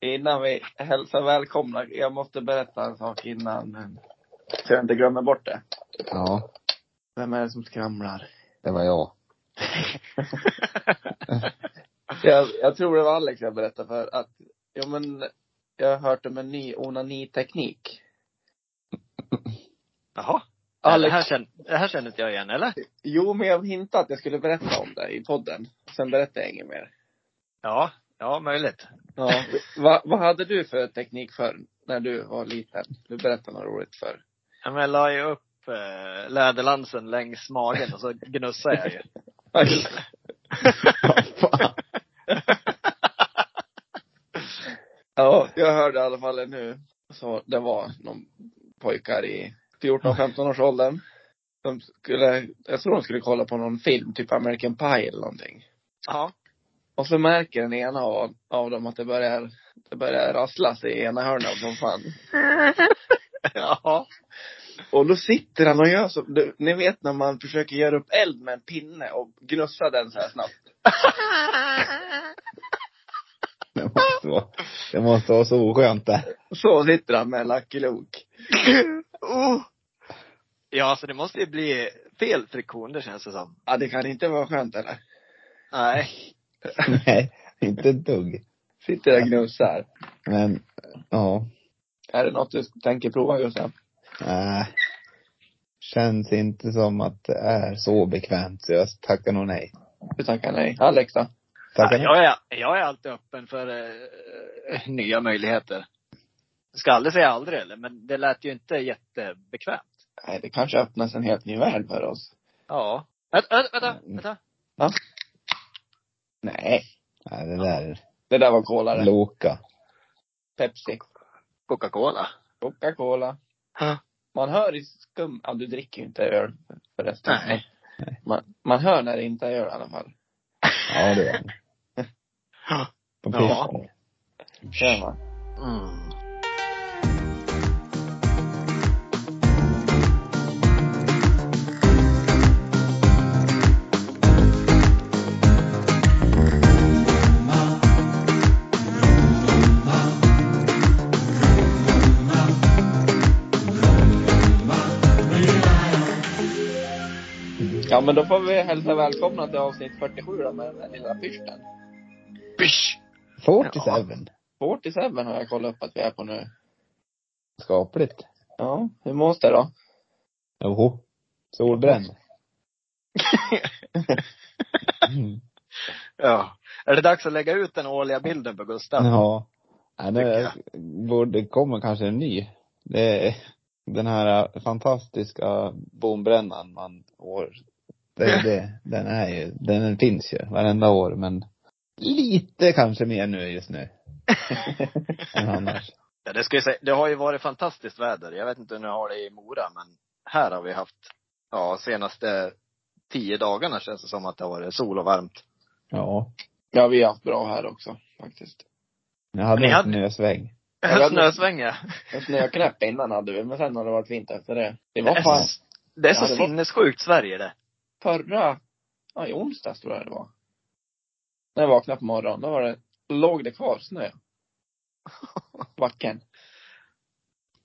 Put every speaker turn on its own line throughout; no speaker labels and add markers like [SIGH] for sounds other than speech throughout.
Innan vi hälsar välkomna, jag måste berätta en sak innan. men- Så jag inte glömmer bort det.
Ja,
Vem är det som skramlar?
det var jag.
Jag, jag tror det var Alex jag berättade för att, ja men, jag har hört om en ny onaniteknik.
Jaha. Det,
Alex,
här känner, det här känner inte jag igen, eller?
jo men jag hintade att jag skulle berätta om det i podden. Sen berättade jag inget mer.
Ja, ja möjligt.
Ja. Va, vad hade du för teknik för när du var liten? Du berättade något roligt för.
Ja, men jag la ju upp eh, läderlansen längs magen och så gnussade jag ju.
Vad fan?
Ja, jag hörde i alla fall det nu. Så det var någon pojkar i 14-15 års åldern. De skulle, jag tror de skulle kolla på någon film, typ American Pie eller någonting.
[LAUGHS] Ja.
Och så märker den ena av, av dem att det börjar, det börjar rasslas i ena hörnan som fan.
Ja.
Och då sitter han och gör så, du, ni vet när man försöker göra upp eld med en pinne och gnussa den så här snabbt.
Det måste vara, det måste vara så oskönt det.
Så sitter han med Lucky Luke.
oh. Ja, alltså det måste ju bli fel friktion, det känns det som.
Ja, det kan inte vara skönt eller?
Nej.
[LAUGHS] Nej, inte ett dugg.
Sitter där och gnussar.
Men, ja,
Är det något du tänker prova Gustav?
nej. äh, Känns inte som att det är så bekvämt, så jag tackar nog nej.
Du tackar nej. Alex då?
Tackar nej.
Jag är, jag är alltid öppen för eh, nya möjligheter. Ska aldrig säga aldrig eller, men det lät ju inte jättebekvämt.
Nej, det kanske öppnas en helt ny värld för oss.
Ja. Vänta, vänta, vänta. vänta.
Nej.
Nej, det där
Det där var cola
är
det.
Loka.
Pepsi.
Coca-Cola.
Coca-Cola.
Ja.
Man hör i skum... Ja, du dricker ju inte öl förresten.
Nej.
Man, man hör när det inte är öl i alla fall.
Ja, det är På
Ja.
piffen.
Kör man.
Mm.
Ja, men då får vi hälsa välkomna till avsnitt 47 då med den där lilla pyrsten.
Bish!
47.
47 har jag kollat upp att vi är på nu.
Skapligt.
Ja, hur mås det då?
Joho. Solbränd. Mm.
Ja. Är det dags att lägga ut den årliga bilden på Gustav?
Ja. Nej,
Tycker
nu
jag.
borde, kommer kanske en ny. Det är den här fantastiska bombrännan man år. Det,
[LAUGHS]
det, den är ju, den finns ju varenda år men lite kanske mer nu just
[LAUGHS]
nu. än annars.
Ja, det ska jag säga. Det har ju varit fantastiskt väder. Jag vet inte hur ni har det i Mora, men här har vi haft, ja, senaste tio dagarna känns det som att det har varit sol och varmt.
Ja.
Ja, vi har haft bra här också faktiskt.
Jag hade
Ni
en
hade-
snösväng.
Ja, det-
Snösvänga.
En snöknäpp innan hade vi, men sen har det varit fint efter det. Det var fan
Det är
Ja,
så
det var-
sinnessjukt Sverige det.
förra, ja i onsdags tror jag det var. När jag vaknade på morgonen, då var det, låg det kvar
[LAUGHS]
snö. Backen.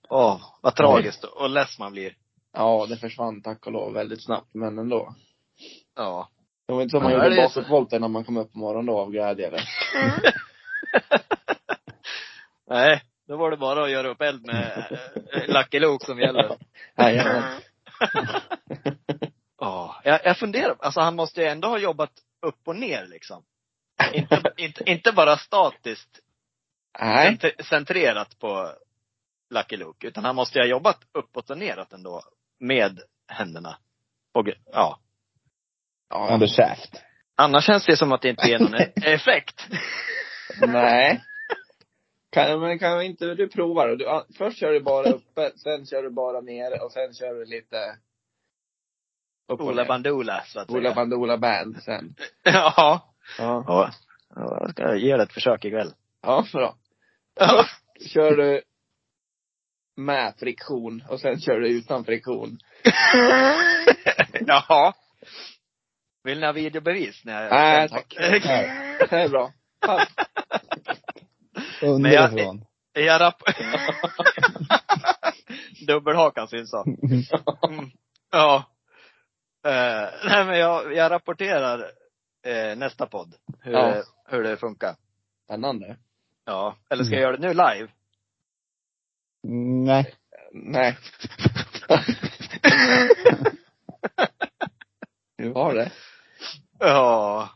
Åh, vad tragiskt och less man blir.
Ja, det försvann tack och lov väldigt snabbt, men ändå.
Ja.
Det var inte som man
Ja,
gjorde
det är-
bakåtvolter när man kom upp på morgonen då av glädje
[LAUGHS]
eller?
Nej, då var det bara att göra upp eld med eh, Lucky Luke som gäller.
Nej, jag-
Ja, [LAUGHS] jag, jag funderar, alltså han måste ju ändå ha jobbat upp och ner liksom. Inte, inte, inte bara statiskt
nej.
cent- centrerat på Lucky Luke, utan han måste ju ha jobbat uppåt och neråt ändå med händerna. Och, ja.
Ja,
Under
[LAUGHS]
käft.
Annars känns det som att det inte [LAUGHS] är någon e- effekt.
nej. Kan, men kan inte du prova då? Du, ja, först kör du bara uppe, sen kör du bara ner och sen kör du lite upp och
Ola
ner.
Bandoola, så att
Ola
säga.
Bandoola Band sen.
Ja.
Ja.
ja. Ja, Jag ska ge det ett försök ikväll.
Ja, bra.
Ja.
kör du med friktion och sen kör du utan friktion.
[LAUGHS] Jaha. Vill ni ha videobevis? När jag
Nej,
sen-
tack. Det är bra. Fan,
Underifrån.
Är jag rapp? Dubbelhakan syns av. Mm. Ja. Eh, nej men jag, jag rapporterar eh, nästa podd hur,
Ja.
det, hur det funkar.
Spännande.
Ja. Eller ska jag
Mm.
göra det nu live?
[LAUGHS] Nej.
Nej. Du har det.
Ja.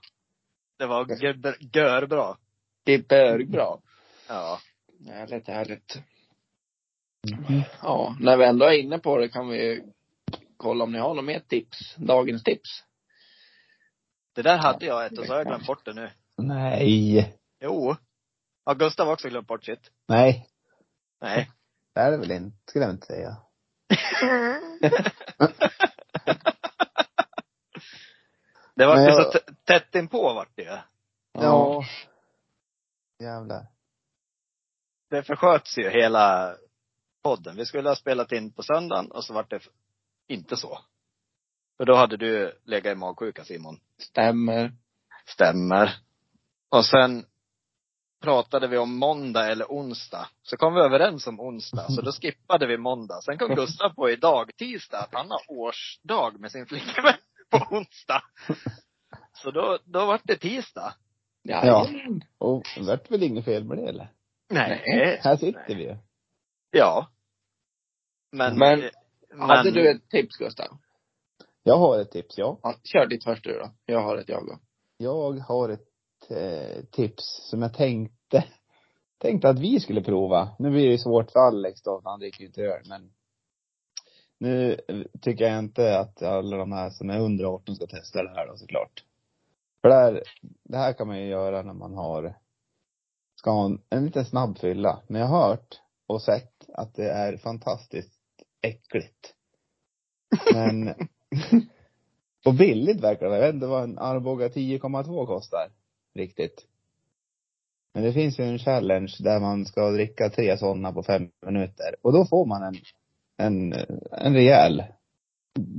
Det var gör- görbra.
Det är bra.
Ja.
Ja, lite härligt.
Mhm.
Ja, när vi ändå är inne på det kan vi ju kolla om ni har något mer tips. Dagens tips.
Det där hade jag ett och så har jag glömt bort det nu.
Nej.
Jo. Ja, Gustav har också glömt bort sitt.
Nej.
Nej.
Det är det väl inte, skulle jag inte säga.
Det var
Men
ju
jag-
så t- tätt inpå vart det ju.
Ja. Jävlar.
det försköts ju hela podden. Vi skulle ha spelat in på söndagen och så vart det f- inte så. För då hade du legat i magsjuka Simon.
Stämmer.
Stämmer. Och sen pratade vi om måndag eller onsdag. Så kom vi överens om onsdag, så [LAUGHS] då skippade vi måndag. Sen kom Gustav på idag, tisdag, att han har årsdag med sin flickvän [LAUGHS] på onsdag. Så då, då vart det tisdag.
Ja.
Ja. Och det vart väl inget fel med det eller?
Nej.
Här sitter vi ju.
Ja. Men,
Men-
men-
Hade du ett tips Gustav?
Jag har ett tips, ja.
Ja, kör ditt först du då. Jag har ett jag då.
Jag har ett eh, tips som jag tänkte, tänkte att vi skulle prova. Nu blir det ju svårt för Alex då, för han dricker ju inte öl, men nu eh, tycker jag inte att alla de här som är under 18 ska testa det här då såklart. För det här, det här kan man ju göra när man har, ska ha en, en liten snabb fylla. Men jag har hört och sett att det är fantastiskt äckligt. Men [LAUGHS] och billigt verkar det vara. Jag vet inte vad en Arboga 10,2 kostar. Riktigt. Men det finns ju en challenge där man ska dricka tre sådana på fem minuter. Och då får man en, en, en rejäl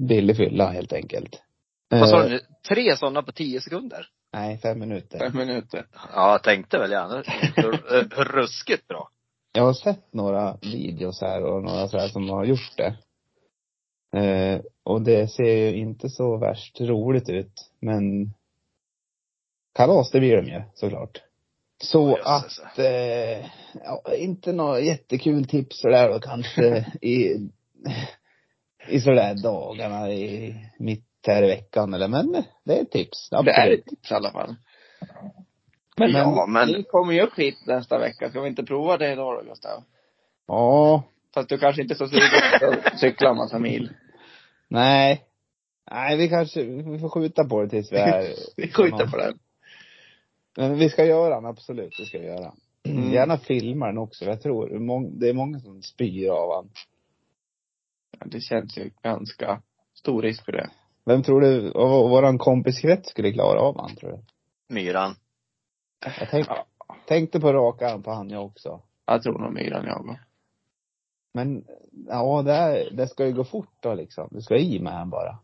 billig fylla helt enkelt.
Vad sa
Eh,
du nu? Tre sådana på tio sekunder?
Nej, fem minuter.
Fem minuter.
Ja, jag tänkte väl [LAUGHS] gärna. Hur- eh, hur Ruskigt bra.
Jag har sett några videos här och några så här som har gjort det. Eh, och det ser ju inte så värst roligt ut, men kalas det blir de ju såklart. Så
Ja,
att,
jösses.
eh, ja, inte något jättekul tips sådär
[LAUGHS]
då kanske i, i sådär dagarna i mitt här i veckan eller men det är ett tips.
Det är
Absolut.
ett tips i alla fall. Men,
Men-
ja, men
men-
det kommer ju upp hit nästa vecka. Ska vi inte prova det då, då Gustav?
Ja.
Fast du kanske inte är så sugen på att cykla en massa [LAUGHS] mil.
Nej. Nej, vi kanske, vi får skjuta på det tills vi är
[LAUGHS] Vi skjuter på den.
Men vi ska göra den, absolut. Det ska vi göra.
Mm.
Gärna filma den också. Jag tror mång- det är många som spyr av den.
Ja, Det känns ju ganska stor risk för det.
Vem tror du av av våran kompiskrets skulle klara av den, tror du?
Myran.
Jag tänk,
Ja.
tänkte på raka arm på han jag också.
Jag tror nog myran jag också.
Men, ja, det, här, det ska ju gå fort då liksom. Du ska i med han bara.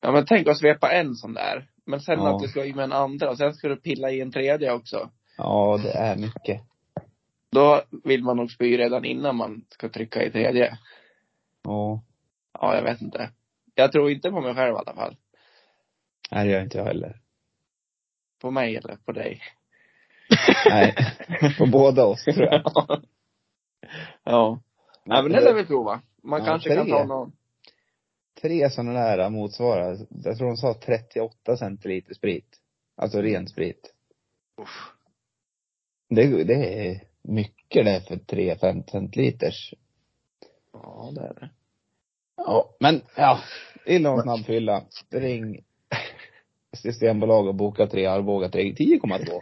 Ja men tänk att svepa en sån där. Men sen
Ja.
att du ska i med en andra och sen ska du pilla i en tredje också.
Ja, det är mycket.
Då vill man nog spy redan innan man ska trycka i tredje.
Ja.
Ja, jag vet inte. Jag tror inte på mig själv i alla fall.
Nej, det gör inte jag heller.
På mig eller på dig.
Nej.
[LAUGHS]
På båda oss, tror jag.
ja. Nej men det lär vi prova. Man
eh, Ja,
kanske
tre.
kan ta någon.
tre sådana där motsvarar, jag tror de sa 38 centiliter sprit. Alltså ren sprit. Det, det är mycket det för 3-5 centiliters.
Ja, det är det.
Ja, men ja. Illa och snabb fylla. Ring [LAUGHS] Systembolag och boka tre Arboga tre 10,2.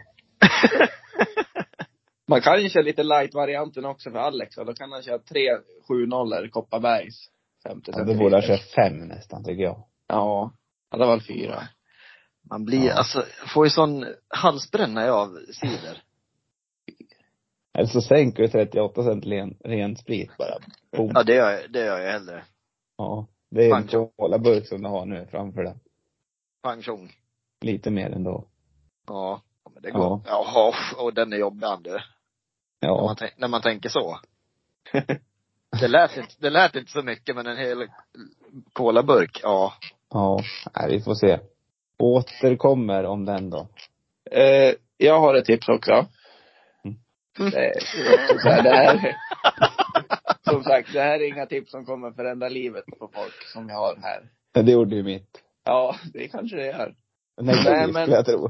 Man kan ju köra lite light-varianten också för Alex. och Då kan han köra tre 7-0 Kopparbergs. 50
Ja, då borde jag köra
centiliter.
fem nästan tycker jag.
Ja. Ja, det var väl fyra.
Man blir,
Ja.
alltså, får ju sån halsbränna jag av cider.
Eller så sänker du 38 cent ren, ren sprit bara. Boom.
Ja, det gör, jag- det gör jag hellre.
Ja. Det är en
Fan.
colaburk som du har nu framför dig.
Pang tjong.
Lite mer ändå.
Ja. Men det
Ja.
går. Ja. Jaha, och den är jobbig han, du. När,
Ja.
man, tän- när man tänker så. Det lät, inte, det lät inte så mycket, men en hel kolaburk, ja.
Ja. Nej, vi får se. Återkommer om den då.
Eh, jag har ett tips också.
Mm.
Det, det, det här, som sagt, det här är inga tips som kommer förändra livet på folk som jag har här.
Ja, Det gjorde ju mitt.
Ja, det kanske det är.
Nej,
men-
men... skulle jag tro.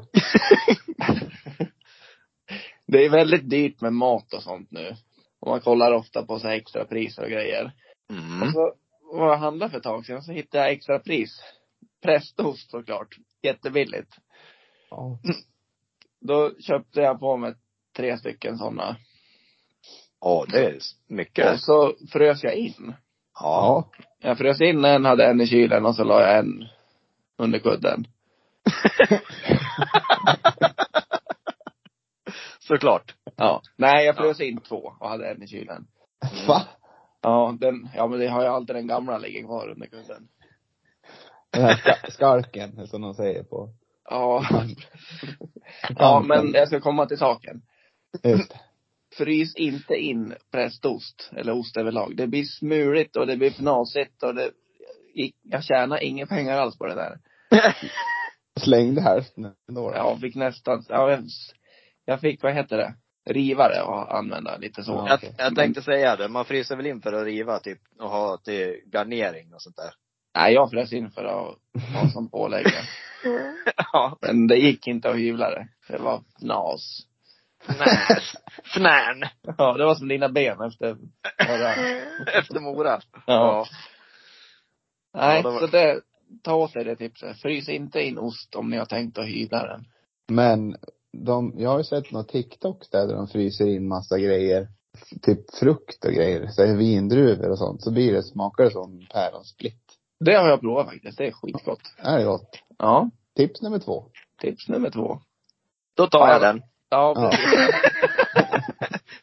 Det är väldigt dyrt med mat och sånt nu. Och man kollar ofta på så här extra priser och grejer.
Mm.
Så, vad jag handlade för ett tag sedan så hittade jag extra pris. Prästost såklart. Jättebilligt.
Ja.
Då köpte jag på mig tre stycken sådana.
Ja, det är mycket.
Och så frös jag in.
Ja.
ja.
Jag frös in en, hade en i kylen och så la jag en under kudden.
Såklart.
Ja. Nej, jag frös in två och hade en i kylen.
Va?
Ja, den, ja men det har ju alltid den gamla ligger kvar under kudden.
Den här ska- skalken, som de säger på.
Ja. ja, men jag ska komma till saken.
Just det.
Frys inte in prästost, eller ost överlag. Det blir smuligt och det blir fnasigt och det, jag tjänar inga pengar alls på det där.
Slängde hälften ändå. då.
Jag fick nästan, ja, jag, jag fick, vad heter det, rivare och använda lite så.
Ja.
Jag,
okej.
jag tänkte säga det, man fryser väl in för att riva typ och ha till garnering och sånt där.
Nej, jag frös in för att ha som pålägg. [LAUGHS]
Ja.
Men det gick inte att hyvla det. Det var fnas.
Fnärn. [LAUGHS] Fnärn.
Ja, det var som dina ben efter förra.
[LAUGHS] Efter Mora.
Ja. Nej,
Ja, det var-
så det, ta åt er det tipset. Frys inte in ost om ni har tänkt att hyvla den.
Men de, jag har ju sett några TikToks där, där de fryser in massa grejer. Typ frukt och grejer. Så här vindruvor och sånt. Så blir det, smakar det som päronsplitt.
Det har jag provat faktiskt. Det är skitgott.
Är det gott?
Ja,
Tips nummer två.
tips nummer två.
Då tar jag
Ja.
[LAUGHS] den.
Ja,
Ja.
precis.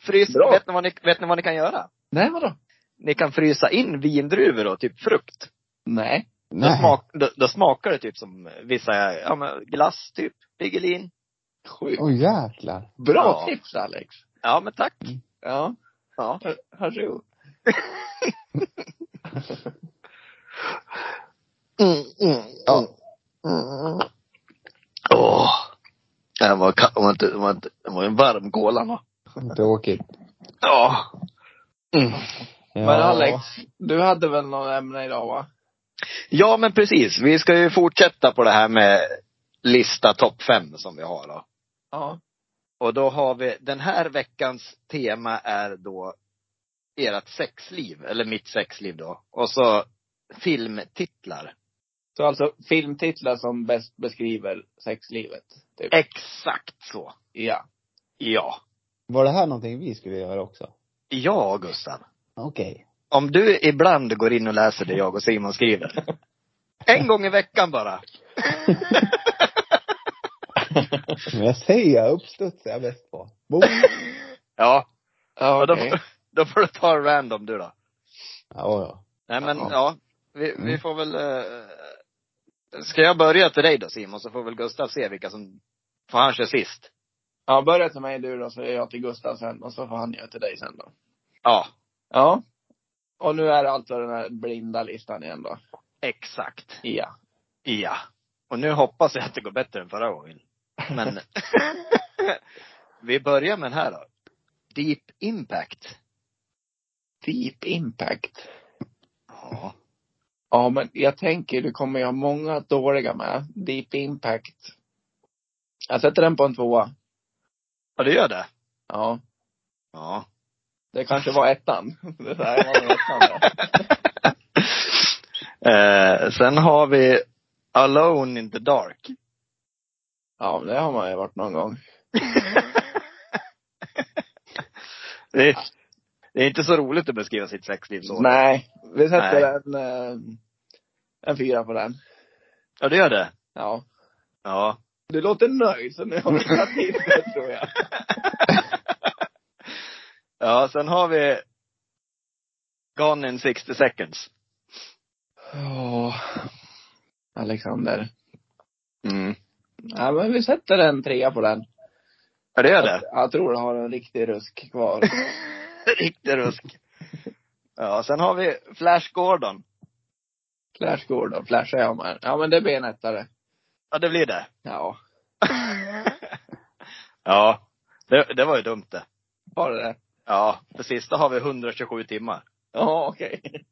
Frys,
Bra.
vet ni, vad ni, vet ni vad ni kan göra?
Nej, vadå?
Ni kan frysa in vindruvor och typ frukt.
Nej.
Då,
Nej.
smak, då, då smakar det typ som vissa, ja men glass typ, Piggelin.
Sjukt.
Åh jäklar.
Bra
Ja.
tips, Alex.
Ja men tack.
Ja.
Ja.
Har- Varsågod.
Mm, mm,
Ja.
mm. Åh. Den var, ka- den var, inte, den var, inte, den var en varm kola va?
Tråkigt.
Ja. Mm.
Ja.
Men Alex, du hade väl någon ämne idag, va?
Ja men precis, vi ska ju fortsätta på det här med lista topp fem som vi har då.
Ja.
Och då har vi, den här veckans tema är då ert sexliv, eller mitt sexliv då. Och så filmtitlar.
Så alltså filmtitlar som bäst beskriver sexlivet? Typ.
Exakt så.
Ja.
Ja.
Var det här någonting vi skulle göra också?
Ja, Gustav.
Okej.
Om du ibland går in och läser det jag och Simon skriver. En gång i veckan bara.
Men jag säger jag uppstudsar jag bäst på. Boom.
Ja.
Ja,
Och då,
okej.
får, då får du ta random du då.
Ja, ja.
Nej men
Ja.
ja, vi, vi
Mm.
får väl eh, Ska jag börja till dig då Simon, så får väl Gustav se vilka som, får han kör sist.
Ja, börja till mig du då, så gör jag till Gustav sen och så får han göra till dig sen då.
Ja,
Ja. Och nu är det alltså den här blinda listan igen då.
exakt.
Ja.
Ja. Och nu hoppas jag att det går bättre än förra gången. [LAUGHS] Men vi börjar med den här då. Deep impact.
Deep impact.
Ja.
Ja, men jag tänker du kommer ju ha många dåliga med. Deep impact. Jag sätter den på en tvåa.
Ja, det gör det.
Ja.
Ja. [LAUGHS]
Det kanske var ettan. [LAUGHS] Det där var nog ettan där.
Eh, sen har vi Alone in the [LAUGHS] dark.
Ja, men det har man ju varit någon gång.
Det är, det är inte så roligt att beskriva sitt sexliv så.
Nej, vi sätter
Nej.
en, eh, en fyra på den.
Ja, det gör det.
Ja.
Ja.
Du låter nöjd, så nu har vi satt in det tror
[LAUGHS]
jag.
Ja, sen har vi Gone in 60 seconds.
Ja. Alexander.
Mm.
Ja, men vi sätter en trea på den.
Ja, det är det.
Jag tror den har en riktig rusk kvar.
Riktig rusk. Ja, sen har vi Flash Gordon.
Flash Gordon, Flash är jag med. Ja men det blir en ettare.
Ja, det blir det.
Ja.
ja, det, det var ju dumt det.
Har det det?
Ja, det sista har vi 127 timmar.
Ja okej. Mm.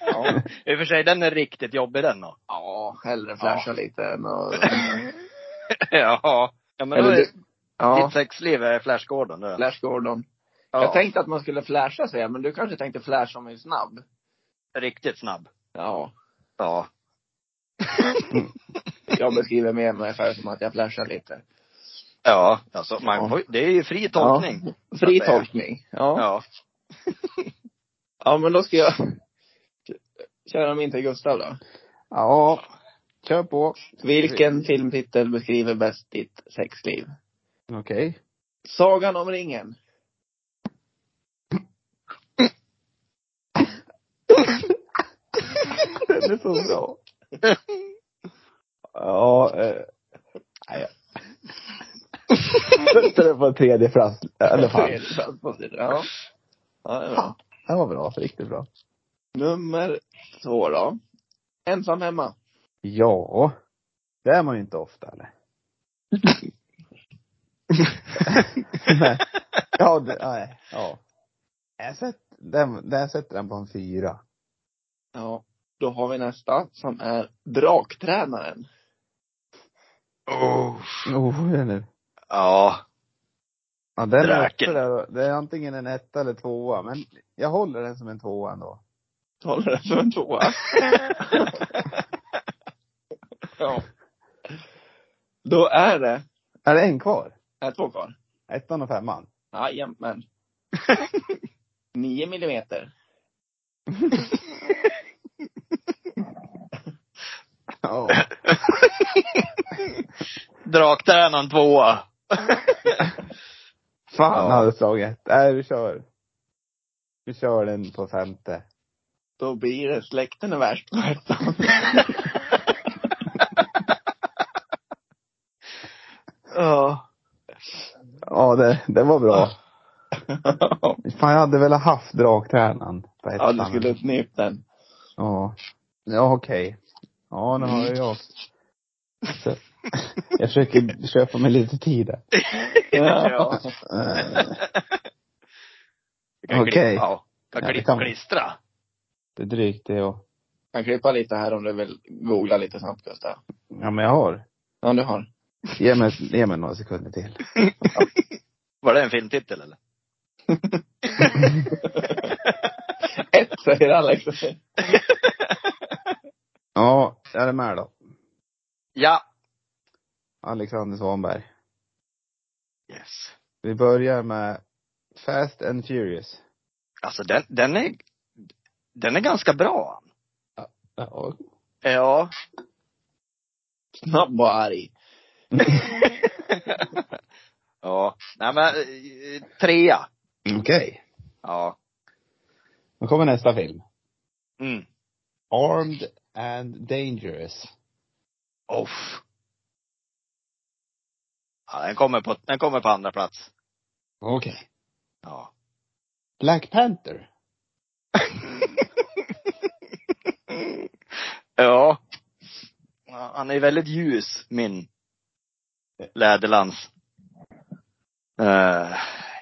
Ja.
I och för sig, den är riktigt jobbig
[LAUGHS]
den då.
ja, hellre flasha lite än och...
ja. Ja, men då
Eller
är
du- Ja,
ditt sexliv är Flash Gordon nu.
Flash Gordon.
Ja,
Jag tänkte att man skulle flasha sig, men du kanske tänkte flash som en snabb?
Riktigt snabb.
Ja.
Ja.
Jag beskriver mer ungefär som att jag flashar lite.
Ja, alltså man
Ja.
får, ju- det är ju fri tolkning. Ja.
Fri
Så att säga.
tolkning. Ja. Ja men då ska jag köra min till Gustav då.
Ja, kör på.
Vilken filmtitel beskriver bäst ditt sexliv?
Okej.
Sagan om ringen.
Den är så bra. Ja, eh. Nej. Sätter den på tredje plats i alla fall.
Ja. ja det är bra.
Den var bra, riktigt bra.
Nummer två då. Ensam hemma.
Ja. Det är man ju inte ofta eller? nej. Ja, det, nej. Ja. Jag sett, den, den sätter den på en fyra.
Ja. Då har vi nästa som är Draktränaren.
Oh.
Oh, den är,
Ja.
ja, den är
Draken.
uppe där. Det är antingen en etta eller tvåa, men jag håller den som en tvåa ändå.
Håller det för en tvåa? [LAUGHS] ja. Då är det,
Är det en kvar?
är det två kvar?
Ettan och femman?
Jajamän. [LAUGHS] Nio millimeter.
Ja.
Draktränaren tvåa.
[LAUGHS] Fan
Ja.
hade slagit. Nej, vi kör. Vi kör den på femte.
Då blir det släkten är värst på [LAUGHS] ettan.
[LAUGHS] Ja.
Ja, det, det var bra. Fan, jag hade velat haft draktränaren på
ja,
ettan.
du skulle snypt den.
Ja. Ja, okej. Ja, nu har jag jag. Så- [LAUGHS] Jag försöker köpa mig lite tid [LAUGHS] där.
Ja.
Eh,
Du kan
Okej.
klippa och-
Ja,
Kan
det
klippa
kan
och
man.
klistra.
Det är drygt det och,
Kan klippa lite här om du vill googla lite snabbt Gustav.
ja men jag har.
Ja, du har.
Ge mig, ge mig några sekunder [LAUGHS] till.
Var det en
[LAUGHS]
filmtitel eller?
Ett säger Alex.
Ja, är det med då?
Ja.
Alexander Svanberg.
Yes.
Vi börjar med Fast and Furious.
Alltså den, den är, den är ganska bra.
Ja.
Ja. [LAUGHS]
Snabb och arg.
ja. Nej men, eh, trea.
Okej.
Ja.
Nu kommer nästa film.
Mm.
Armed and Dangerous.
Off. Ja, den kommer på, den kommer på andra plats.
Okej.
Ja.
Black Panther.
[LAUGHS] ja. Ja, Han är väldigt ljus, min läderlans. Eh,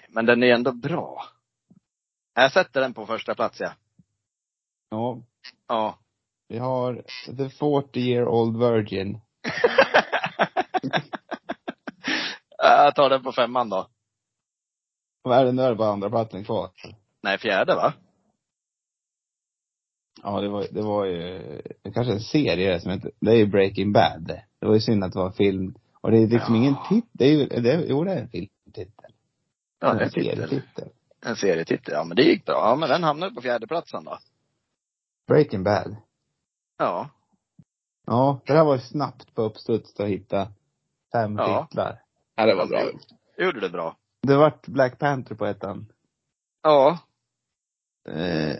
men den är ändå bra. Jag sätter den på första plats, ja.
Ja.
Ja. [LAUGHS]
Vi har The 40 year old virgin.
Jag tar den på femman då.
Vad är det nu? Är det bara andra platsen kvar?
Nej, fjärde va?
Ja, det var, det var ju eh, kanske en serie som heter, det är ju Breaking Bad. Det var ju synd att det var en film. Och det är liksom
Ja.
ingen titel. Det är ju, det är, jo det är en filmtitel.
Ja,
en
en titel.
serietitel.
En serietitel. Ja, men det gick bra. Ja, men den hamnade på fjärde platsen då.
Breaking Bad.
Ja.
Ja, det här var ju snabbt på uppstuds att hitta fem
Ja.
titlar.
Ja, det var bra.
Gjorde det bra.
Det vart Black Panther på ettan.
Ja.
Eh,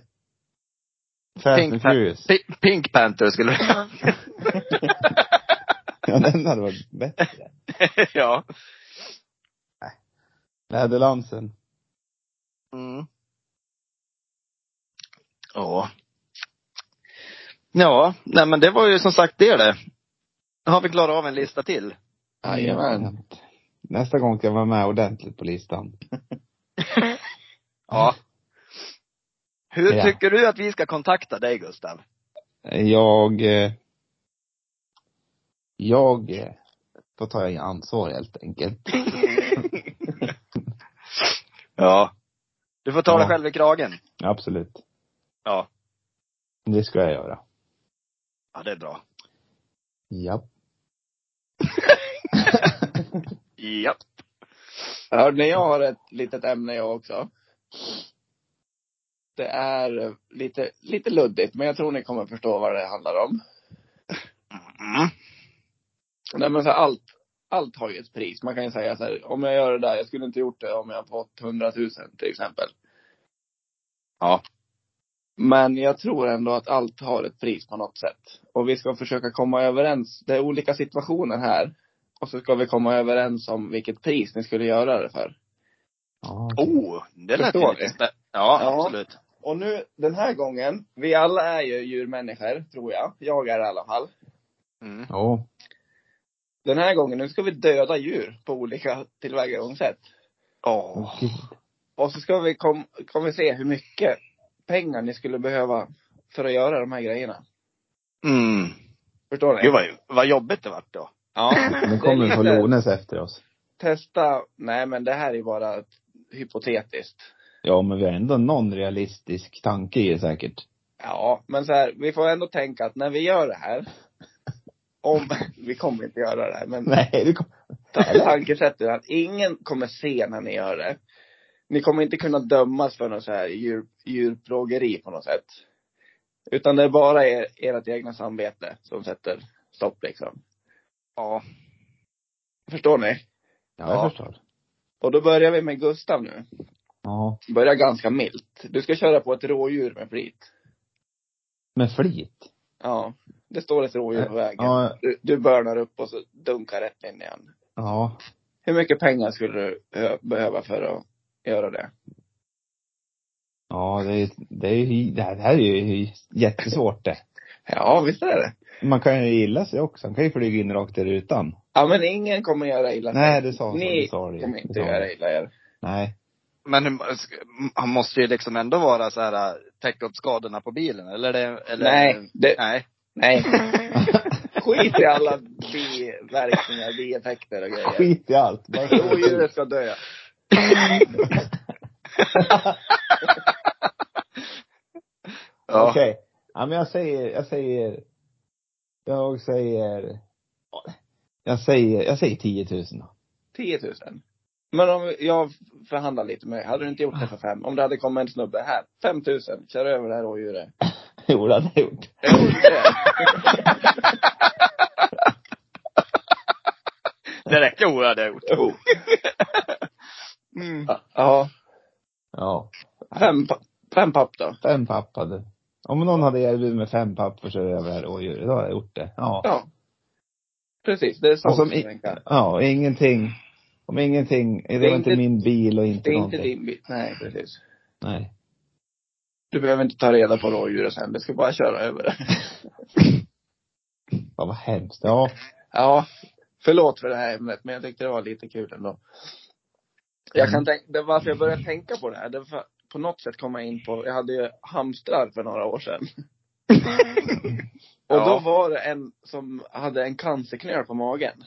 Fast
Pink
and
Pan-
Furious.
Pi- Pink Panther
[LAUGHS]
skulle [LAUGHS]
ja, den hade varit bättre.
ja.
Läderlansen.
Mm. Ja. Ja, nej men det var ju som sagt det det. Har vi klarat av en lista till?
Jajamän.
Nästa gång ska jag vara med ordentligt på listan.
Ja. Hur
Ja.
tycker du att vi ska kontakta dig Gustav? [LAUGHS]
Jag, eh, jag, eh, då tar jag ansvar helt enkelt.
Ja. Du får ta dig
Ja.
själv i kragen.
Absolut.
Ja.
Det ska jag göra.
Ja, det är bra.
Japp.
Ja.
Hörde ni, jag har ett litet ämne jag också. Det är lite, lite luddigt, men jag tror ni kommer förstå vad det handlar om.
Mm.
Nej men så här, allt, allt har ju ett pris. Man kan ju säga så här, om jag gör det där, jag skulle inte gjort det om jag fått 100 000 till exempel.
Ja.
Men jag tror ändå att allt har ett pris på något sätt. Och vi ska försöka komma överens. Det är olika situationer här. Och så ska vi komma överens om vilket pris ni skulle göra det för.
[LAUGHS] Ja, okej.
Oh, det lät ju
Förstår
lite
ni?
spä- ja,
Ja.
absolut.
Och nu, den här gången, vi alla är ju djurmänniskor, tror jag. Jag är det i alla fall.
Mm.
Ja.
Den här gången, nu ska vi döda djur på olika tillvägagångssätt.
Åh.
[LAUGHS]
Åh, gud.
Och så ska vi, kom, kommer vi se hur mycket pengar ni skulle behöva för att göra de här grejerna.
Mm.
Förstår ni?
Gud vad, vad jobbigt det vart då.
Ja.
Nu kommer vi få
Det är lite-
Lones efter oss.
Testa, nej men det här är bara ett hypotetiskt.
Ja, men vi har ändå någon realistisk tanke i det säkert.
Ja, men så här, vi får ändå tänka att när vi gör det här, [LAUGHS] om, vi kommer inte göra det här, men
[LAUGHS] Nej, det kom...
ta- tankesättet är att ingen kommer se när ni gör det. Ni kommer inte kunna dömas för något så här djur, djurplågeri på något sätt. Utan det är bara er, ert egna samvete som sätter stopp liksom.
[LAUGHS] Ja.
Förstår ni?
Ja, jag
Ja.
förstår.
Och då börjar vi med Gustav nu.
Ja.
Börja ganska milt. Du ska köra på ett rådjur med flit.
Med flit.
Ja. Det står ett rådjur på vägen.
Ja.
Du, du börnar upp och så dunkar rätt in igen.
Ja.
Hur mycket pengar skulle du eh, behöva för att göra det?
Ja, det är, det är ju, det här, det här är ju jättesvårt det.
Ja, visst är det.
Man kan ju gilla sig också. Man kan ju flyga in rakt i rutan.
Ja, men ingen kommer göra illa sig.
Nej, det sa
Ni
det sa
kommer
det.
inte göra illa er.
Nej.
Men hur- alltså, han måste ju liksom ändå vara så här, äh, täcka upp skadorna på bilen eller? det, eller
Nej, det,
Nej.
[LAUGHS]
nej. Skit i alla biverkningar, bieffekter och grejer.
[LAUGHS] Skit i allt. Bara
Rådjuret ska dö.
Ja.
Okej. Ja, men jag säger, jag säger, jag säger, jag säger, jag säger 10 000 då. [LAUGHS]
10 000. Men om jag förhandlar lite med dig, hade du inte gjort det för fem? Om det hade kommit en snubbe här, 5 000, kör över det här rådjuret.
Jo, det hade jag gjort.
Jag gjorde det.
Det räcker oerhört gjort.
Jo.
Mm.
Ja, Ja.
Ja.
Fem, pa- fem papp då.
Fem papp hade. Om någon hade erbjudit mig fem papp för att köra över det här rådjuret, då hade jag gjort det. Ja.
Ja. Precis, det är sånt
Och som
som
Alltså, i-
tänka.
Ja, och ingenting. Om ingenting, det
är
var inte
inte-
min bil och inte
Det är inte
någonting.
din bit. Nej, precis.
Nej.
Du behöver inte ta reda på rådjuret sen, du ska bara köra över det.
[LAUGHS] Ja, vad hemskt. Ja.
Ja. Förlåt för det här ämnet, men jag tyckte det var lite kul ändå. Jag kan tänka, det varför jag började tänka på det här, det var för att på något sätt komma in på, jag hade ju hamstrar för några år sedan. Och då
Ja.
var det en som hade en cancerknöl på magen.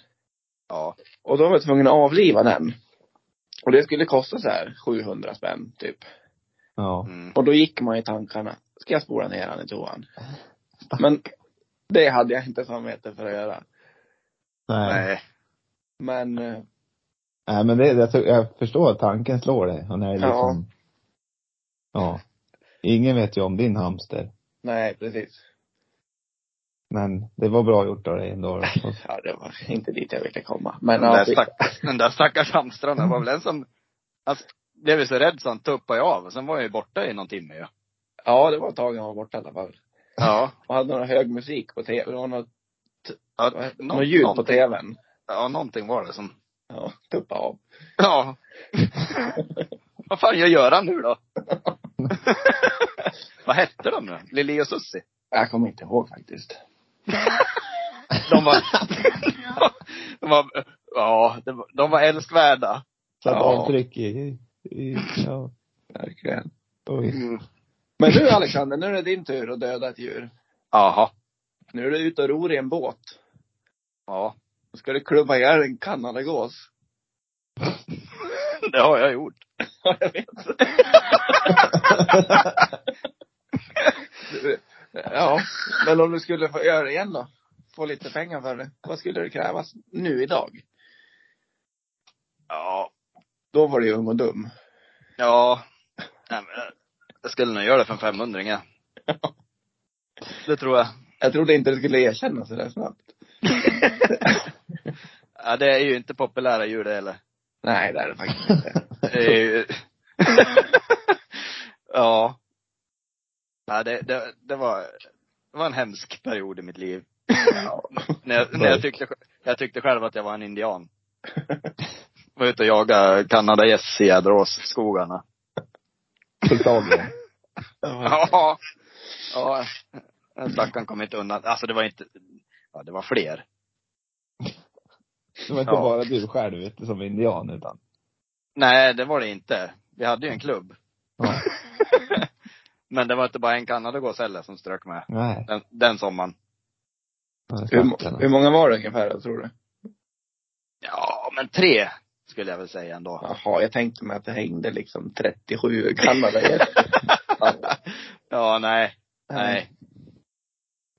Ja.
Och då var jag tvungen att avliva den. Och det skulle kosta så här 700 spänn typ.
Ja.
Mm.
Och då gick man i tankarna, ska jag spola ner han i toan? Men det hade jag inte samvete för att göra.
Nej.
Nej.
Men eh,
Nej, men det, jag, tror- jag förstår att tanken slår dig. Och när det
Ja.
liksom, ja. Ingen vet ju om din hamster.
nej, precis.
Men det var bra gjort av
[LAUGHS]
dig ändå.
Ja, det var inte dit jag ville komma. Men
Den där,
ja,
stack, den där stackars hamstrarna det var väl en som, alltså, blev ju så rädd så han tuppade ju av. Sen var jag ju borta i någon timme ju.
ja, det var ett tag jag var borta i alla fall.
Ja.
Och hade någon hög musik på tv, det var något,
ja
vad heter det?
nå-
något ljud på
någonting-
tvn.
Ja, någonting var det som
Ja, tuppa av.
Ja. Vad fan gör Göran
[LAUGHS]
nu då? [LAUGHS] Vad hette de nu? Lili och Susie?
Jag kommer inte ihåg faktiskt.
De var, [LAUGHS] de var, ja, de var- de var älskvärda.
Satt
Ja.
avtryck i, i, ja.
Verkligen.
Oj.
Men nu Alexander, nu är det din tur att döda ett djur.
Jaha.
Nu är du ute och ror i en båt.
Ja.
Då ska du klubba ihjäl en kanadagås. [LAUGHS]
Det har jag gjort.
Ja, jag vet. Du- ja, men om du skulle få göra det igen då? Få lite pengar för det. Vad skulle det krävas nu idag?
Ja.
Då var du ju ung och dum.
Ja. Nej, men, jag skulle nog göra det för en 500 [LAUGHS] ja. Det tror jag.
Jag trodde inte du skulle erkänna sådär snabbt.
Ja, det är ju inte populära djur det heller.
Nej, det är det faktiskt inte.
Det är ju... [LAUGHS] ja. ja det, det, det, var, det var en hemsk period i mitt liv.
Ja.
När jag, när jag, tyckte, jag tyckte själv att jag var en indian. Var ute och jagade kanadagäss i Jäderåsskogarna.
Beklagligen.
Ja. Ja. Den stackaren kom inte undan. Alltså det var inte, ja det var fler.
Det var inte
Ja.
bara du själv vet du, som indian utan.
Nej, det var det inte. Vi hade ju en klubb.
Ja.
[LAUGHS] Men det var inte bara en kanadagås heller som strök med.
Nej.
Den, den sommaren.
Hur, må- hur många var det ungefär då, tror du?
Ja, men tre skulle jag väl säga ändå. [LAUGHS]
Jaha, jag tänkte mig att det hängde liksom 37 kanadagäss.
Ja, nej, nej.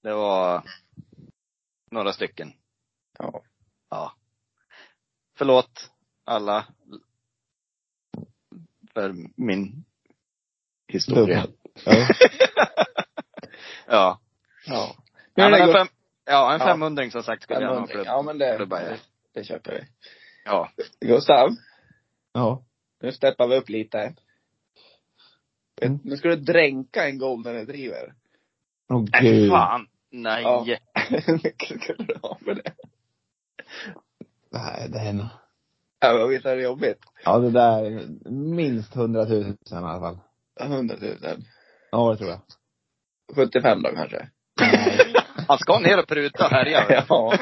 Det var några stycken.
Ja.
Ja. Förlåt alla för min historia.
Ja.
[LAUGHS] Ja.
Ja.
Ja,
Men
men en
det
fem, ja, en
Ja.
500 som sagt skulle jag nog
går,
klubba.
ja, men det,
klubba ihjäl.
det, det köper vi.
Ja.
Gustav,
Ja.
nu steppar vi upp lite.
Mm.
Nu ska du dränka en golden retriever. [LAUGHS]
Åh
Nej,
gud.
fan. Nej.
Ja. Hur mycket skulle du ha för det?
Nej, det är nog.
Ja, men visst är det jobbigt?
Ja det där, är minst 100 000 i alla fall.
100 000.
Ja det tror jag.
75 då kanske? [LAUGHS]
Han ska ner och pruta och härja. vet du.
Ja.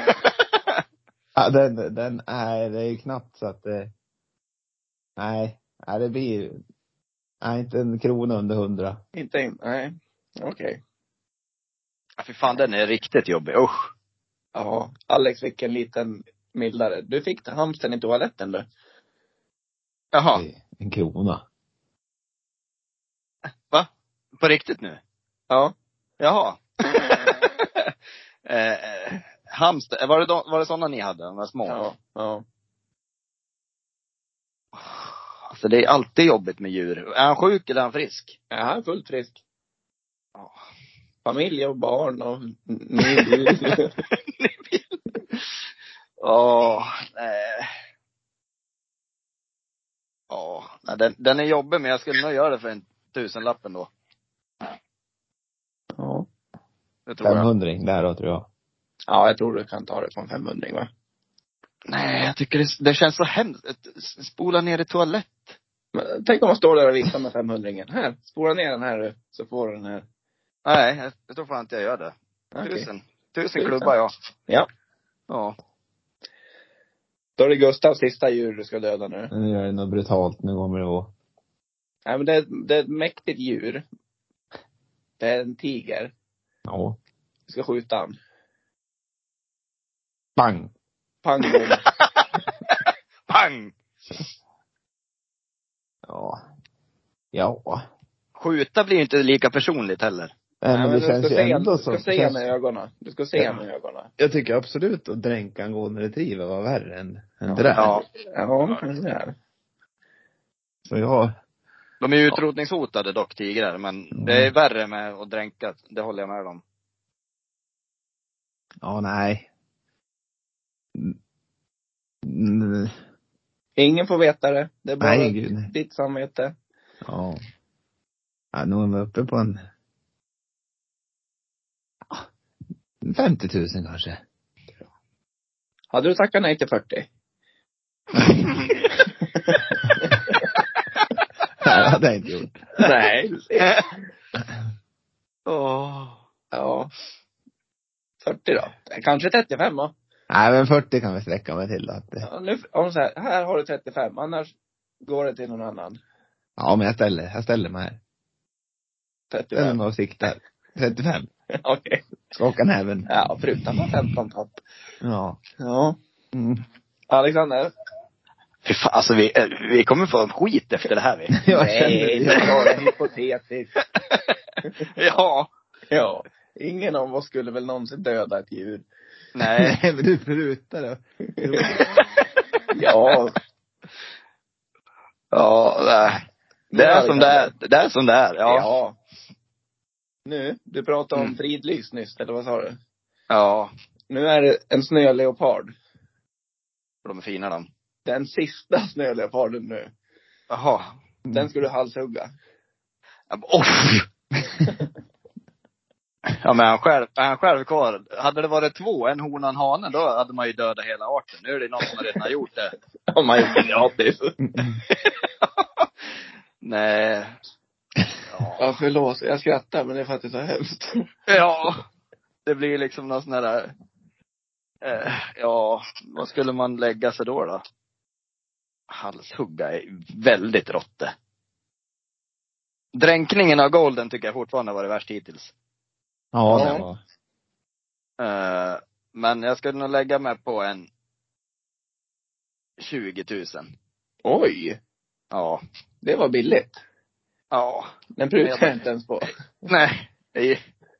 Ja, den, den är, det är ju knappt så att det, nej, nej det blir, nej inte en krona under hundra.
Inte in, nej. Okej.
Ja, Fy fan, den är riktigt jobbig. Usch.
Ja. Alex fick en liten mildare. Du fick hamstern i toaletten du.
Jaha.
En krona.
På riktigt nu?
Ja. [LAUGHS]
Jaha. eh, eh, hamster, var det, de, var det sådana ni hade, de där små?
Ja. Ja.
Alltså det är alltid jobbigt med djur. Är han sjuk eller är han frisk?
ja han är fullt frisk.
Ja.
Familj och barn och ny bil.
Åh, nej. Eh. Ja, nej, den, den är jobbig men jag skulle nog göra det för en tusenlapp ändå.
[LAUGHS] ja.
Det tror jag.
500 där då tror jag.
ja, jag tror du kan ta det på en 500 va?
Nej, jag tycker det, det känns så hemskt. S- Spola ner i toalett.
Men, tänk om man står där och viftar med 500 Här, spola ner den här du, så får du den här.
Nej, jag, jag tror fan inte jag gör det.
Okej.
Tusen. Tusen klubbar jag.
Ja.
Ja.
Då är det Gustavs sista djur du ska döda nu.
Nu gör det något brutalt, nu kommer det vara.
Nej men det är, det är ett mäktigt djur. Det är en tiger.
Ja.
Du ska skjuta han.
Bang!
Pang bom.
Pang!
Ja. Ja.
Skjuta blir ju inte lika personligt heller.
Nej, men det
du
känns
ska
ju
se
ändå
han-
som,
Du ska se
känns,
honom i ögonen. Du ska se honom i ögonen.
jag tycker absolut att dränka en golden retriever var värre än, än
Ja.
det där.
Ja.
Ja, men det är.
Så jag,
De är ju utrotningshotade dock, tigrar. Men det är värre med att dränka. Det håller jag med om.
ja nej. Mm,
Ingen får veta det. Det är bara
nej gud nej.
ditt samvete.
Ja. Ja, nu är vi uppe på en... Ja, 50 000 kanske. [LAUGHS]
Hade du tackat nej till 40?
Nej, det hade jag inte gjort.
Nej, [LAUGHS] du ser.
Åh.
Ja. 40 då. Kanske 35 då.
Nej, men 40 kan vi sträcka mig till då. att eh, det-
Ja, nu, om så här, här har du 35, annars går det till någon annan.
Ja, men jag ställer, jag ställer mig här. Ställer
35.
mig och siktar. 35.
[LAUGHS] Okej.
Ska åka näven.
Ja, förutom på 15 tapp.
Ja.
Ja.
Mm. [LAUGHS]
Alexander?
Fy fan, alltså vi, eh, vi kommer få en skit efter det här vi.
Jag känner
Nej,
det.
det var en hypotetisk.
[LAUGHS] ja.
Ja. Ingen av oss skulle väl någonsin döda ett djur.
Nej.
[LAUGHS] Nej, men du prutar då.
[LAUGHS] Ja.
Ja, nej. Det är som det är. Det är som det är.
ja.
Ja.
Nu, du pratade om
Mm.
fridlys nyss, eller vad sa du?
Ja.
Nu är det en snöleopard.
De är fina de.
Den sista snöleoparden nu.
Mm. Jaha.
Den ska du halshugga.
Ja, men, Oh. Ja men är han själv, är han själv kvar. Hade det varit två, en hona och en hane, då hade man ju dödat hela arten. Nu är det någon som redan [LAUGHS] har gjort det.
Om man gjort det gratis.
Nej. Ja.
Ja, förlåt. Jag skrattar, men det är för att det är så hemskt. [LAUGHS]
ja. Det blir liksom någon sån där, eh, ja, vad skulle man lägga sig då då? Halshugga är väldigt rått det. Dränkningen av golden tycker jag fortfarande har varit värst hittills.
Ja,
Ja.
det var.
Eh, men jag skulle nog lägga mig på en 20 000.
Oj!
Ja.
Det var billigt.
Ja.
Den prutade jag inte ens på.
Nej. Ja,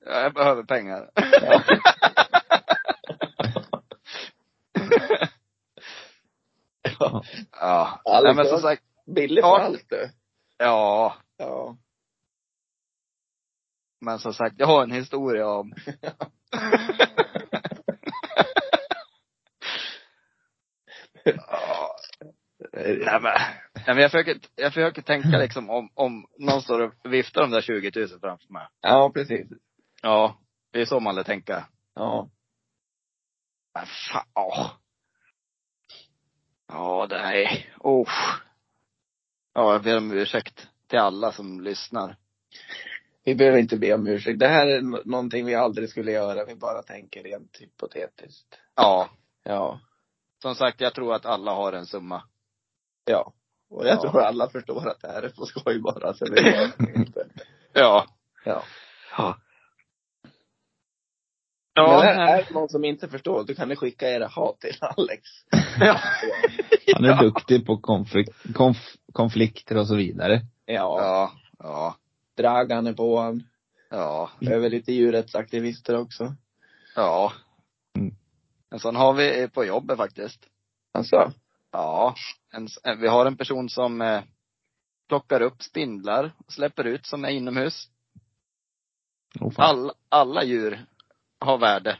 Jag behöver pengar.
Ja.
Ja.
Alltså.
Nej, men som sagt.
Billigt för
Ja.
allt du.
Ja.
Ja.
Men som sagt, jag har en historia om. Ja. Nej men, nej, men jag, försöker, jag försöker tänka liksom om, om någon står och viftar de där 20 000 framför mig.
Ja, precis.
Ja, det är så man lär tänka.
Ja.
Men fan, åh. Ja, nej. Oh. Ja, jag ber om ursäkt till alla som lyssnar.
Vi behöver inte be om ursäkt. Det här är n- någonting vi aldrig skulle göra. Vi bara tänker rent hypotetiskt.
Ja,
Ja.
som sagt, jag tror att alla har en summa.
Ja. Och jag
Ja.
tror alla förstår att det här är på skoj bara. Så [LAUGHS] det är inte.
Ja.
Ja.
Ja.
Men
Ja.
det här
nej.
är någon som inte förstår, då kan ni skicka era hat till Alex.
ja.
Han är duktig på konflikt, konf, konflikter och så vidare.
Ja.
Ja. Ja.
Dragan är på han.
Ja.
Behöver lite djurrättsaktivister också.
Ja.
Mm.
En sån har vi på jobbet faktiskt.
Alltså.
Ja. En, s- eh, vi har en person som eh, plockar upp spindlar och släpper ut som är inomhus.
Oh, fan.
All, alla djur har värde.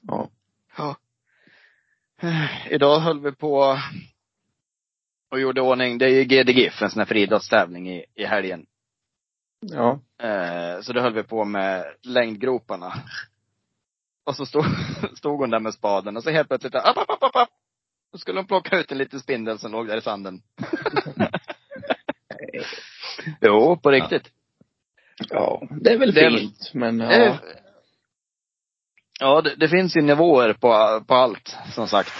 Ja.
Ja. Eh, Idag höll vi på och gjorde ordning. Det är ju GD GIF, en sån här friidrottstävling i, i helgen.
Ja.
Eh, så då höll vi på med längdgroparna. Och så stod, [LAUGHS] stod hon där med spaden och så helt plötsligt, app, app, app, app, app. Då skulle hon plocka ut en liten spindel som låg där i sanden. [LAUGHS] jo, på riktigt.
Ja. Det är väl
Det är-
fint, men ja.
Eh, Ja, det, det finns ju nivåer på, på allt, som sagt.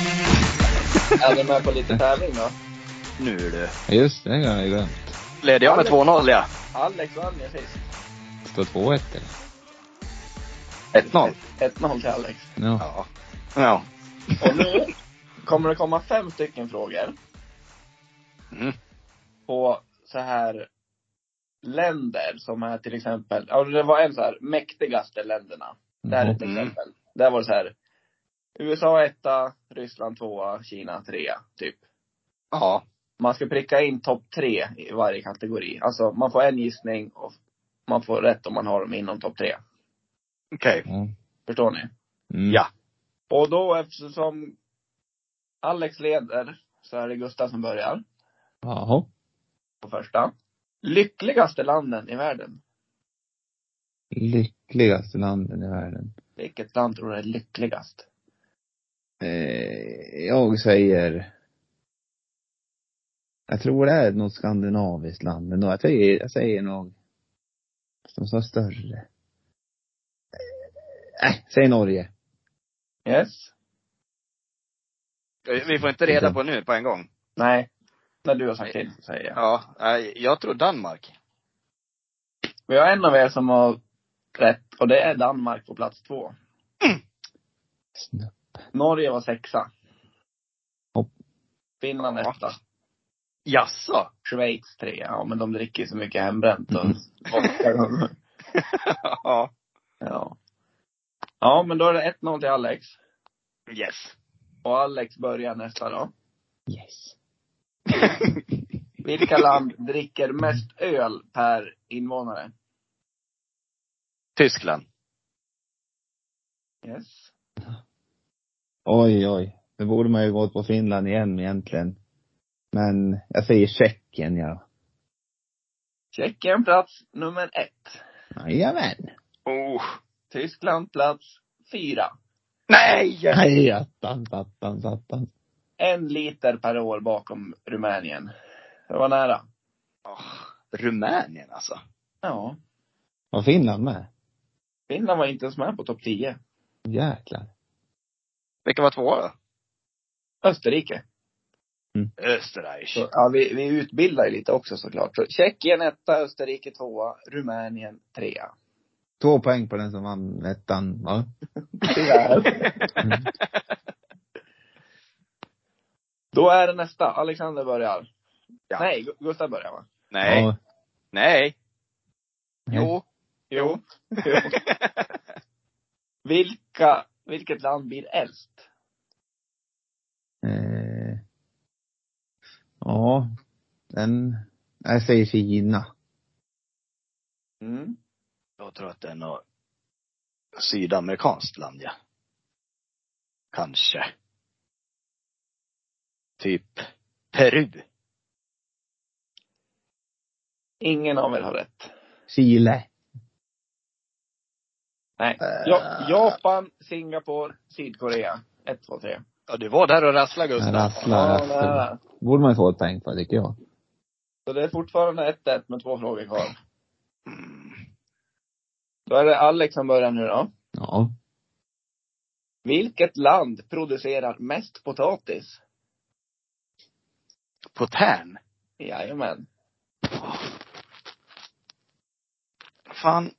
Är ni med på lite tävling då?
Nu du.
Ja, Just det, det har jag glömt.
Leder jag med 2-0 ja.
Alex vann ju sist.
Står 2-1 eller?
1-0.
1-0 till Alex.
Ja.
Ja. Ja.
Och nu kommer det komma fem stycken frågor
Mm.
på så här länder som är till exempel, ja det var en så här mäktigaste länderna. Där är ett
Mhm.
exempel. Där var det så här USA etta, Ryssland tvåa, Kina trea, typ.
Ja.
man ska pricka in topp tre i varje kategori. Alltså man får en gissning och man får rätt om man har dem inom topp tre.
Okej.
Mm.
Förstår ni?
Mm.
Ja.
Och då eftersom Alex leder så är det Gustav som börjar
Jaha.
på första. Lyckligaste landen i världen.
Lyckligaste landen i världen.
Vilket land tror du är lyckligast?
Eh, jag säger... Jag tror det är något skandinaviskt land ändå. Jag säger, jag säger nog... Som sa större. Eh, äh, säg Norge.
Yes?
Vi får inte reda på nu på en gång.
Nej. När du har sagt till så säger jag.
Ja, nej, jag tror Danmark.
Vi har en av er som har rätt och det är Danmark på plats två.
Snupp.
Norge var sexa.
Hopp.
Finland
Ja.
etta.
Jaså? [LAUGHS]
Schweiz trea. Ja men de dricker ju så mycket hembränt och
Mm.
vodka.
ja.
Ja. Ja men då är det 1-0 till Alex.
Yes.
Och Alex börjar nästa då.
Yes.
Vilka land dricker mest öl per invånare?
Tyskland.
Yes.
Oj, oj. Nu borde man ju gått på Finland igen egentligen. Men jag säger Tjeckien, ja.
Tjeckien plats nummer ett.
Jajamän.
Oh.
Tyskland plats fyra.
Nej!
Nej, attan, attan, attan.
En liter per år bakom Rumänien. Det var nära.
Åh, Oh. Rumänien alltså.
Ja.
Var Finland med?
Finland var inte ens med på topp 10.
Jäklar.
Vilka var två då?
Österrike. Så,
Österreich.
ja, vi, vi utbildar ju lite också såklart. Så Tjeckien etta, Österrike tvåa, Rumänien trea.
Två poäng på den som vann ettan, va?
Tyvärr.
Mm.
Då är det nästa. Alexander börjar.
Ja.
Nej, Gu- Gustav börjar va?
Nej.
Ja.
Nej.
Nej.
Jo.
Jo.
[LAUGHS]
jo. Vilka, vilket land blir äldst?
Eh, ja, den, jag säger Kina.
Mm.
Jag tror att det är något sydamerikanskt land, ja. Kanske. Typ Peru.
Ingen av er har rätt.
Chile.
Nej.
Äh.
Ja, Japan, Singapore, Sydkorea. Ett, två, tre.
Ja, du var där och rasslade
Jag
Gustav.
rasslar,
Ja,
rasslar.
nära.
Borde man ju få ett poäng för, tycker jag.
Så det är fortfarande 1-1 med två frågor kvar.
Mm.
Då är det Alex som börjar nu då.
Ja.
Vilket land producerar mest potatis?
På Tärn.
Jajamän.
Fan.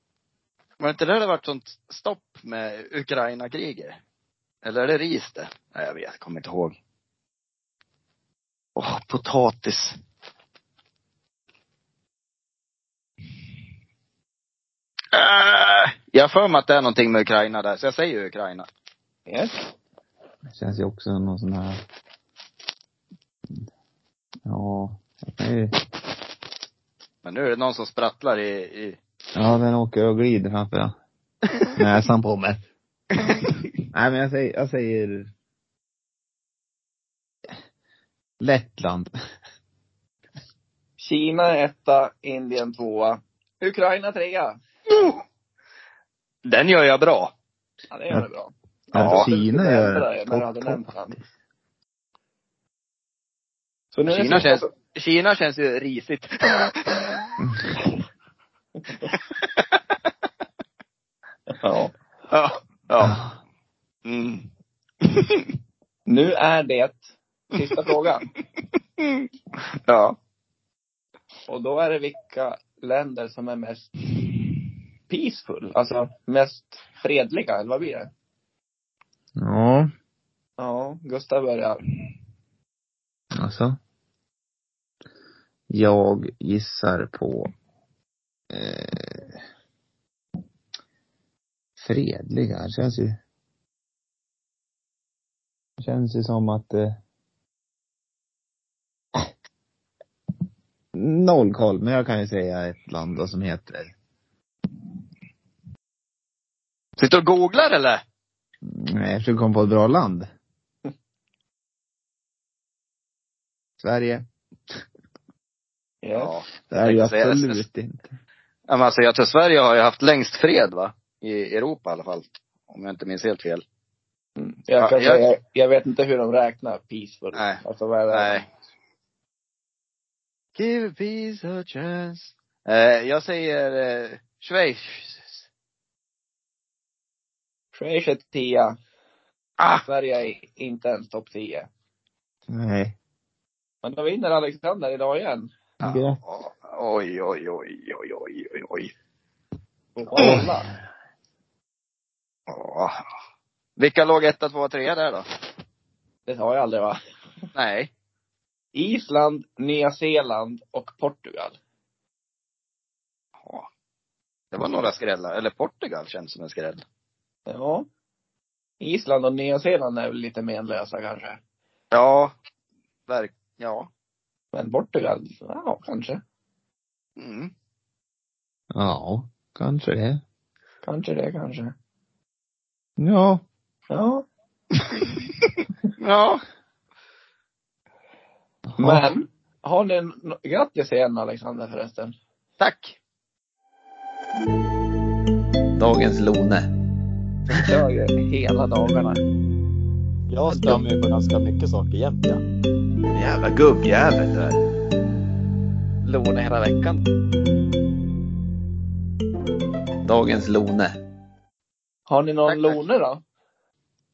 Var det inte där det varit sånt stopp med Ukraina-kriget? Eller är det ris det? Nej, jag vet. Kommer inte ihåg. Åh, potatis. Äh, jag har för mig att det är någonting med Ukraina där, så jag säger Ukraina.
Yes.
Det känns ju också som någon sån här... Ja. jag kan ju-
Men nu är det någon som sprattlar i, i...
Ja, den åker och glider framför näsan på mig. Nej, men jag säger, jag säger... Lettland.
Kina är etta, Indien tvåa, Ukraina trea.
Den gör jag bra.
Ja, det gör det bra.
Ja,
du
Kina
skulle
gör
ändra det när du hade
topp-
nämnt han. Så nu är det
Kina
sista-
känns, Kina känns ju risigt.
Ja.
Ja. ja.
Ja.
Mm.
Nu är det sista [LAUGHS] frågan.
Ja.
Och då är det vilka länder som är mest peaceful, alltså mest fredliga, eller vad blir det?
Ja,
Ja, Gustav börjar.
alltså. Jag gissar på eh, fredliga. Det känns ju... Det känns ju som att eh, noll koll, men jag kan ju säga ett land då som heter,
Sitter du och googlar eller?
nej, jag försöker komma på ett
[LAUGHS]
bra land. Sverige.
Ja.
Det är ju
Jag tänkte säga
absolut inte.
Ja, men alltså jag tror Sverige har ju haft längst fred va? I Europa i alla fall. Om jag inte minns helt fel.
Mm. Jag, kan
Ja, jag-
Säga, jag vet inte hur de räknar peaceful.
Nej.
Alltså, vad är det?
Nej. Give peace a chance. Eh, jag säger eh, Schweiz.
Schweiz är 10.
Ah!
Sverige är inte ens topp 10.
Nej.
Men då vinner Alexander idag igen.
Ja.
Oj, oj, oj, oj, oj, oj, oj.
Och
Mm.
kolla.
Ja. Vilka låg etta, tvåa, trea där då?
Det sa jag aldrig va?
Nej.
Island, Nya Zeeland och Portugal.
Ja. Det var några skrällar. Eller Portugal känns som en skräll.
Ja. Island och Nya Zeeland är väl lite menlösa kanske.
Ja. Verk... Ja.
Men Portugal, ja kanske.
Mm.
Ja, kanske det.
Kanske det kanske.
Ja.
Ja.
Ja.
Men, har ni en, grattis igen Alexander förresten.
Tack.
Dagens Lone.
Jag kör ju hela dagarna.
Jag stör mig på ganska mycket saker jämt ja.
Jävla gubbjävel där.
Låna hela veckan.
Dagens Lone.
Har ni någon
Tack, tack.
Lone då?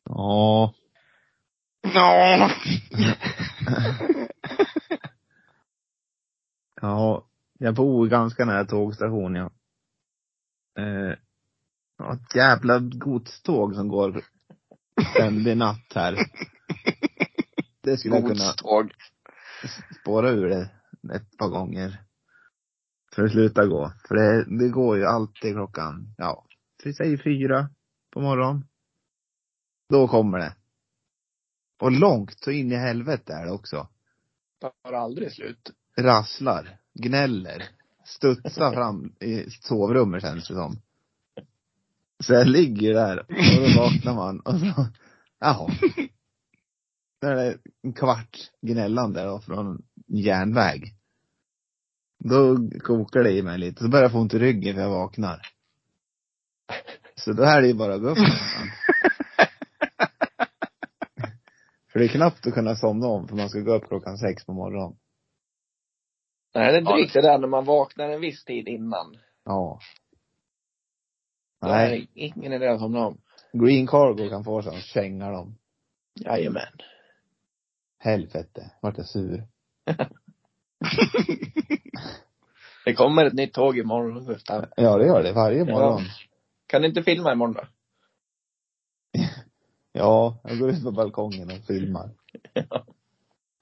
Ja.
Ja.
[LAUGHS] Ja, jag bor ganska nära tågstationen, ja. Eh, ja, ett jävla godståg som går ständig natt [LAUGHS] här. Det skulle jag kunna
Godståg.
spåra ur det ett par gånger. För att sluta gå. För det, det går ju alltid klockan, ja, vi säger fyra på morgonen. Då kommer det. Och långt så in i helvete är det också.
Tar aldrig slut.
rasslar, gnäller, studsar fram i sovrummet känns det som. Så jag ligger där och då vaknar man och så, jaha. Där är det en kvart gnällande då från järnväg. Då kokar det i mig lite, så börjar jag få ont i ryggen för jag vaknar. Så då är det ju bara att gå upp nästan. För det är knappt att kunna somna om för man ska gå upp klockan sex på morgonen.
Nej, det är
Ja.
drygt det där när man vaknar en viss tid innan.
Ja.
Då är
Nej,
det Ingen idé att somna om.
Green Cargo kan få sig att känga dem.
Jajamän.
Helvete, vart jag sur.
Det kommer ett nytt tåg imorgon Gustav.
Ja, det gör det varje
Ja.
morgon.
Kan du inte filma imorgon då?
Ja, jag går ut på balkongen och filmar.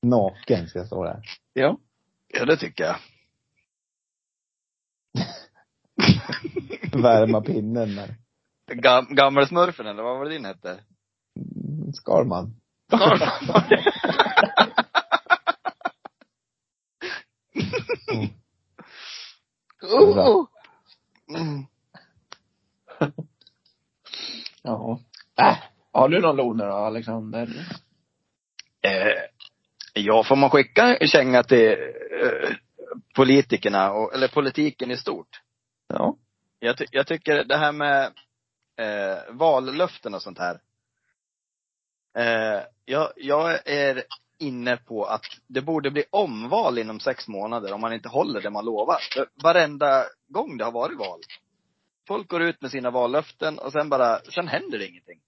Naken ska jag stå där.
Ja.
Ja, det tycker jag.
Värma pinnen med
Gam- Gammelsmurfen eller vad var det din hette?
Skalman.
Oh! Mm.
[LAUGHS] Ja. Äh. Har du någon Lone då, Alexander?
Eh, ja, får man skicka en känga till eh, politikerna, och, eller politiken i stort?
Ja.
Jag, ty- jag tycker det här med eh, vallöften och sånt här. Eh, jag, jag är inne på att det borde bli omval inom sex månader om man inte håller det man lovar. För Varenda gång det har varit val. Folk går ut med sina vallöften och sen bara, sen händer det ingenting.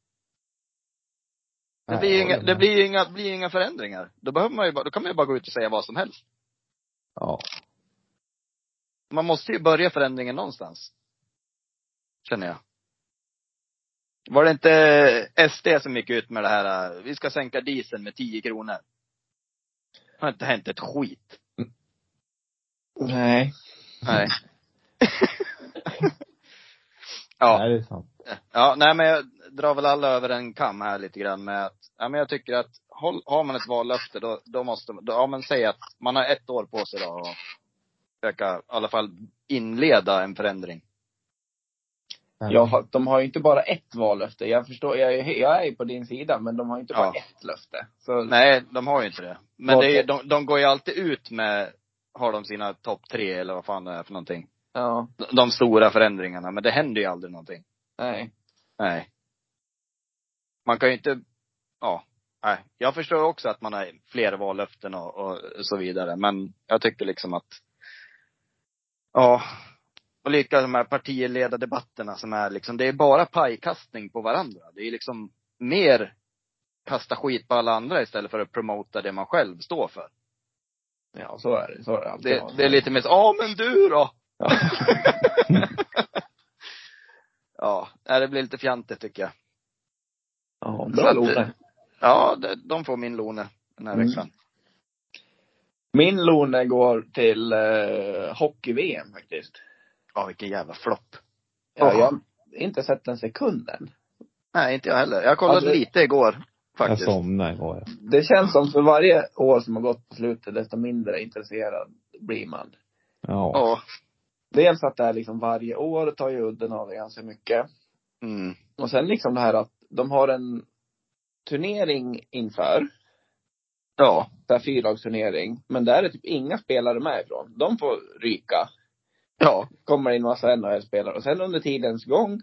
Det
Nej,
blir ju
jag
inga,
håller
det
med.
blir ju inga, blir ju inga förändringar. Då behöver man ju bara, då kan man ju bara gå ut och säga vad som helst.
Ja.
Man måste ju börja förändringen någonstans. Känner jag. Var det inte SD som gick ut med det här, eh, vi ska sänka dieseln med 10 kronor? Det har inte hänt ett skit.
Nej.
Nej. [LAUGHS] ja.
Nej, det är sant.
Ja, nej men jag drar väl alla över en kam här lite grann med att, ja men jag tycker att håll, har man ett vallöfte då, då måste man, då, ja men säg att man har ett år på sig då att försöka i alla fall inleda en förändring.
Jag, har- de har ju inte bara ett vallöfte. Jag förstår, jag, är- jag är ju på din sida, men de har ju inte bara
Ja.
ett löfte. Så,
Nej, de har ju inte det. Men
Okej.
det är, ju- de, de går ju alltid ut med, har de sina topp tre eller vad fan det är för någonting.
ja,
De- De stora förändringarna, men det händer ju aldrig någonting.
nej.
Nej. Man kan ju inte, ja. Nej. Jag förstår också att man har fler vallöften och, och så vidare. Men jag tyckte liksom att, ja. Och lika de här partiledardebatterna som är liksom, det är bara pajkastning på varandra. Det är liksom mer kasta skit på alla andra istället för att promota det man själv står för.
Ja, så är det. Så är det alltid.
Det, det är lite mer så, ja men du då!
Ja.
[LAUGHS] Ja, nej, det blir lite fjantigt tycker jag.
Ja,
Så
bra
att-
Lone.
Ja, det, de får min Lone den här
Mm.
veckan.
Min Lone går till eh, hockey-VM faktiskt.
Ja, vilken jävla flopp.
Ja,
Jaha.
jag har inte sett en sekund än.
Nej, inte jag heller. Jag kollade
Hade-
lite igår,
Jag
faktiskt.
somnade igår. ja.
Det känns som för varje år som har gått på slutet, desto mindre intresserad blir man.
Ja.
Ja.
Dels att det är liksom varje år tar ju udden av det ganska mycket.
Mm.
Och sen liksom det här att de har en turnering inför,
Ja.
så här fyrlagsturnering, men där är typ inga spelare med ifrån. De får ryka.
Ja.
Kommer in massa NHL-spelare och sen under tidens gång,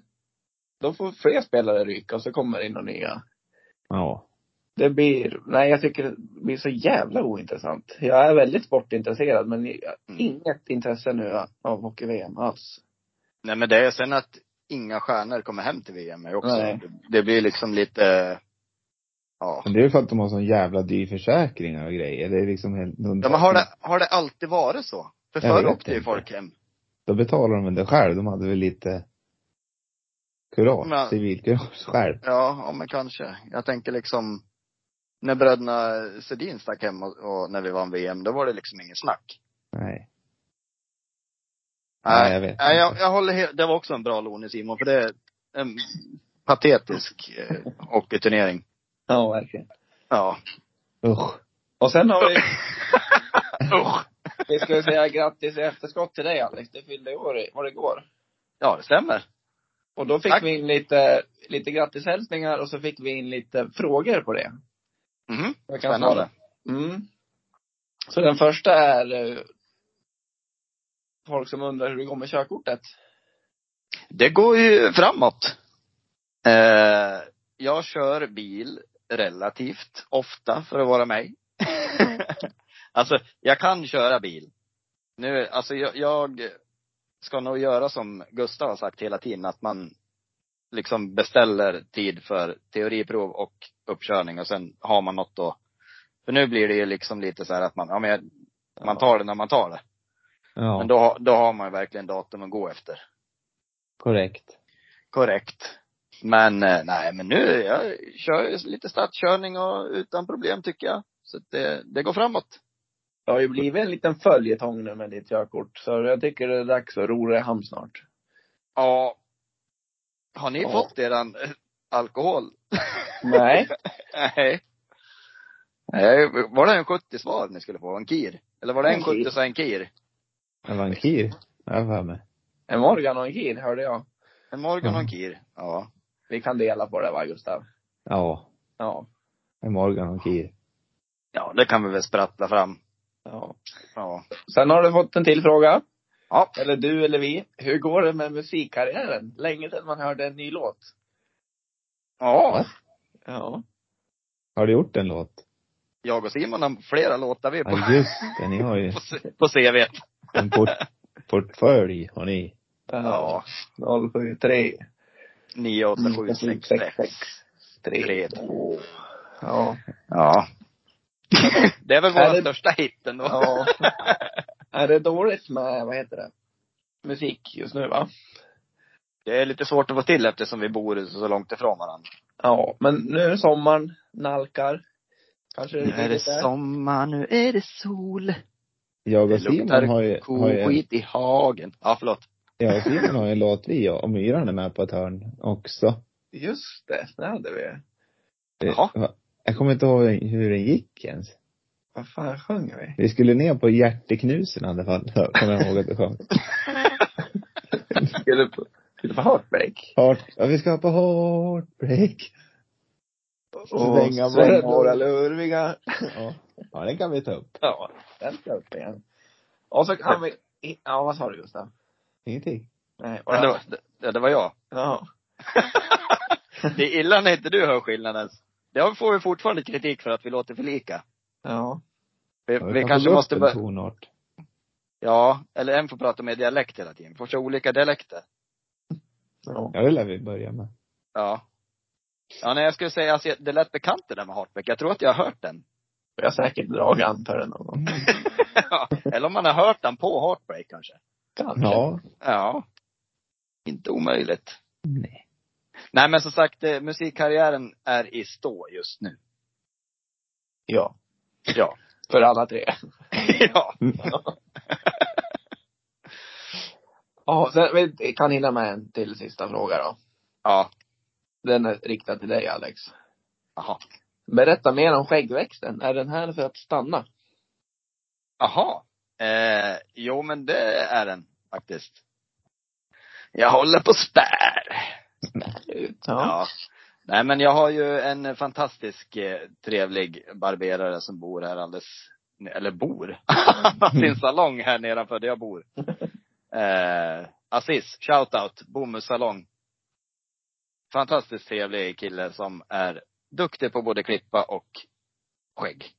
då får fler spelare ryka och så kommer det in några nya.
Ja.
Det blir, nej jag tycker det blir så jävla ointressant. Jag är väldigt sportintresserad men jag-
Mm.
inget intresse nu av hockey-VM alls.
Nej, men det är sen att inga stjärnor kommer hem till VM är också.
Nej.
Det blir liksom lite, eh, ja.
Men det är ju för att de har sån jävla dyr försäkringar och grejer. Det är liksom helt
ja men har det, har det alltid varit så? För
Jag
förr
vet
åkte ju
inte.
folk hem.
Då betalar de väl det själv. De hade väl lite kurage,
Men-
civilkurage själv.
Ja, ja men kanske. Jag tänker liksom, när bröderna Sedin stack hem och, och när vi vann VM, då var det liksom ingen snack.
Nej.
Nej,
jag vet
Nej, jag,
inte.
jag håller helt, det var också en bra Lone Simon, för det är en patetisk eh, hockeyturnering.
Ja, verkligen.
Ja.
Usch.
Och sen har
[LAUGHS]
vi,
Usch.
vi ska ju säga grattis i efterskott till dig Alex. Du fyllde i år, i- var det igår.
Ja, det stämmer.
Och då fick
Tack.
vi in lite, lite grattishälsningar och så fick vi in lite frågor på det.
Mhm.
Jag kan
Spännande.
svara. Mm. Så den första är eh, folk som undrar hur det går med körkortet.
Det går ju framåt. Eh, jag kör bil relativt ofta för att vara mig. [LAUGHS] alltså, jag kan köra bil. Nu, alltså jag, jag ska nog göra som Gustav har sagt hela tiden, att man liksom beställer tid för teoriprov och uppkörning och sen har man något då. För nu blir det ju liksom lite så här att man, ja men jag, man tar det när man tar det.
Ja,
Men då, har- då har man ju verkligen datum att gå efter.
korrekt.
Korrekt. Men eh, nej, men nu, jag kör ju lite stadskörning och utan problem tycker jag. Så att det, det går framåt.
Det har ju blivit en liten följetong nu med ditt körkort. Så jag tycker det är dags att ro dig i hamn snart.
Ja. Har ni
Ja.
fått eran eh, alkohol?
Nej.
Nej. Nej, var det en 70 svar ni skulle få? En kir? Eller var det en
En Kir.
70 så en kir?
Det var en kir. Jag har för mig.
[LAUGHS] En Morgan och en Kid hörde jag.
En Morgan och en
Ja.
kir. Ja.
Vi kan dela på det va, Gustav?
Ja.
Ja.
En Morgan och en kir.
Ja, det kan vi väl sprattla fram.
ja.
Ja.
Sen har du fått en till fråga.
Ja.
Eller du eller vi. Hur går det med musikkarriären? Länge sedan man hörde en ny låt.
Ja.
Va?
Ja.
Har du gjort en låt?
Jag och Simon har flera låtar vi på,
Ja, just det. Ni har ju
på, [LAUGHS] på CV. t.
en port, portfölj, har ni.
Ja.
073.
98766.
3, 2. Ja.
Ja. Det är väl
Är
vår
det-
största hit ändå.
Ja. Är det dåligt med, vad heter det, musik just nu va?
Det är lite svårt att få till eftersom vi bor så långt ifrån varandra.
Ja, men nu är sommaren nalkar. Kanske det är lite
sommar, nu är det sol.
Jag
Det
och Simon
luktar
har ju, har ju en,
koskit i hagen. Ja, förlåt.
jag och Simon har ju en låt vi och, och Myran är med på ett hörn också.
Just det, det hade vi.
Det-
Jaha.
va- Jag kommer inte ihåg hur den gick ens.
Vad fan sjöng vi?
Vi skulle ner på hjärteknusen i alla fall, [LAUGHS] så kommer jag ihåg att det sjöng.
Skulle på, skulle på Heartbreak.
Heart, ja, vi ska på heartbreak.
Svänga
Svänga våra-
våra lurviga.
Ja. ja, den kan vi ta upp.
Ja, den ska upp igen. Och så kan vi, ja vad sa du Gustav?
Ingenting.
Nej, och
Men det, var, det, ja, det var jag.
ja.
Det är illa när inte du hör skillnaden. Det får vi fortfarande kritik för att vi låter för lika.
ja.
Vi,
Ja,
vi
kan
kanske
få
måste
upp en
börja,
tonart.
ja, eller en får prata med dialekt hela tiden. Får köra olika dialekter.
ja.
Ja, det lär vi börja med.
Ja. Ja, nej jag skulle säga, alltså, det lät bekant det där med Hartbeck. Jag tror att jag har hört den. [LAUGHS]
Jag har säkert dragit an på den någon gång.
Ja, Eller om man har hört den på Heartbreak kanske.
Kanske.
Ja.
Ja. Inte omöjligt.
Nej.
Nej men som sagt, eh, musikkarriären är i stå just nu.
Ja.
Ja.
För alla tre.
[LAUGHS] ja.
Ja, sen vi kan hinna med en till sista fråga då.
Ja.
Den är riktad till dig Alex.
Jaha.
Berätta mer om skäggväxten. Är den här för att stanna?
Jaha. Eh, jo men det är den faktiskt. Jag håller på spär.
Ja.
Ja. Nej men jag har ju en fantastisk eh, trevlig barberare som bor här alldeles, eller bor, [LAUGHS] Han har
Mm.
sin salong här nedanför där
[LAUGHS]
jag bor. Eh, Aziz, shoutout, bomullssalong. Fantastiskt trevlig kille som är duktig på både klippa och skägg.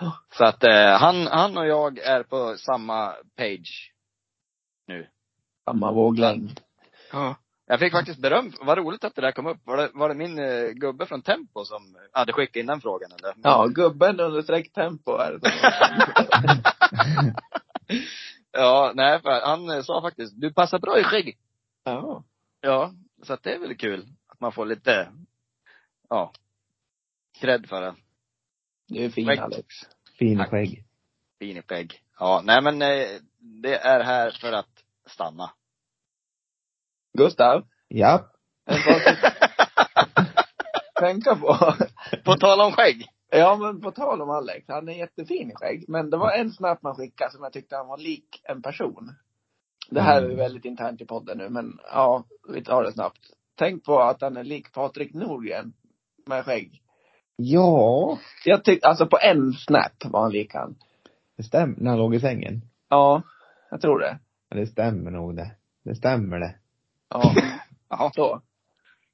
Ja.
Så att eh, han, han och jag är på samma page nu.
Samma våglängd.
Ja. Jag fick faktiskt beröm. Vad roligt att det där kom upp. Var det, var det min eh, gubbe från Tempo som hade skickat in den frågan eller?
Ja, gubben under sträckt tempo är det som-
Ja, nej, för han eh, sa faktiskt, du passar bra i skägg.
Ja.
Ja, så att det är väl kul att man får lite, ja, cred för det.
Du är fin
Skägg.
Alex.
Fin
Tack.
skägg.
Fin i skägg. Ja, nej men eh, det är här för att stanna.
Gustav,
Ja.
en sak att tänka på. [LAUGHS]
På tal om skägg.
Ja, men på tal om Alex. Han är jättefin i skägg. Men det var en snap man skickade som jag tyckte han var lik en person. Det här är ju väldigt internt i podden nu, men ja, vi tar det snabbt. Tänk på att han är lik Patrik Norgren med skägg.
Ja.
Jag tyckte, alltså på en snap var han lik han.
Det stämmer. När han låg i sängen.
Ja, jag tror det.
Ja, det stämmer nog det. Det stämmer det.
Ja,
Jaha.
så.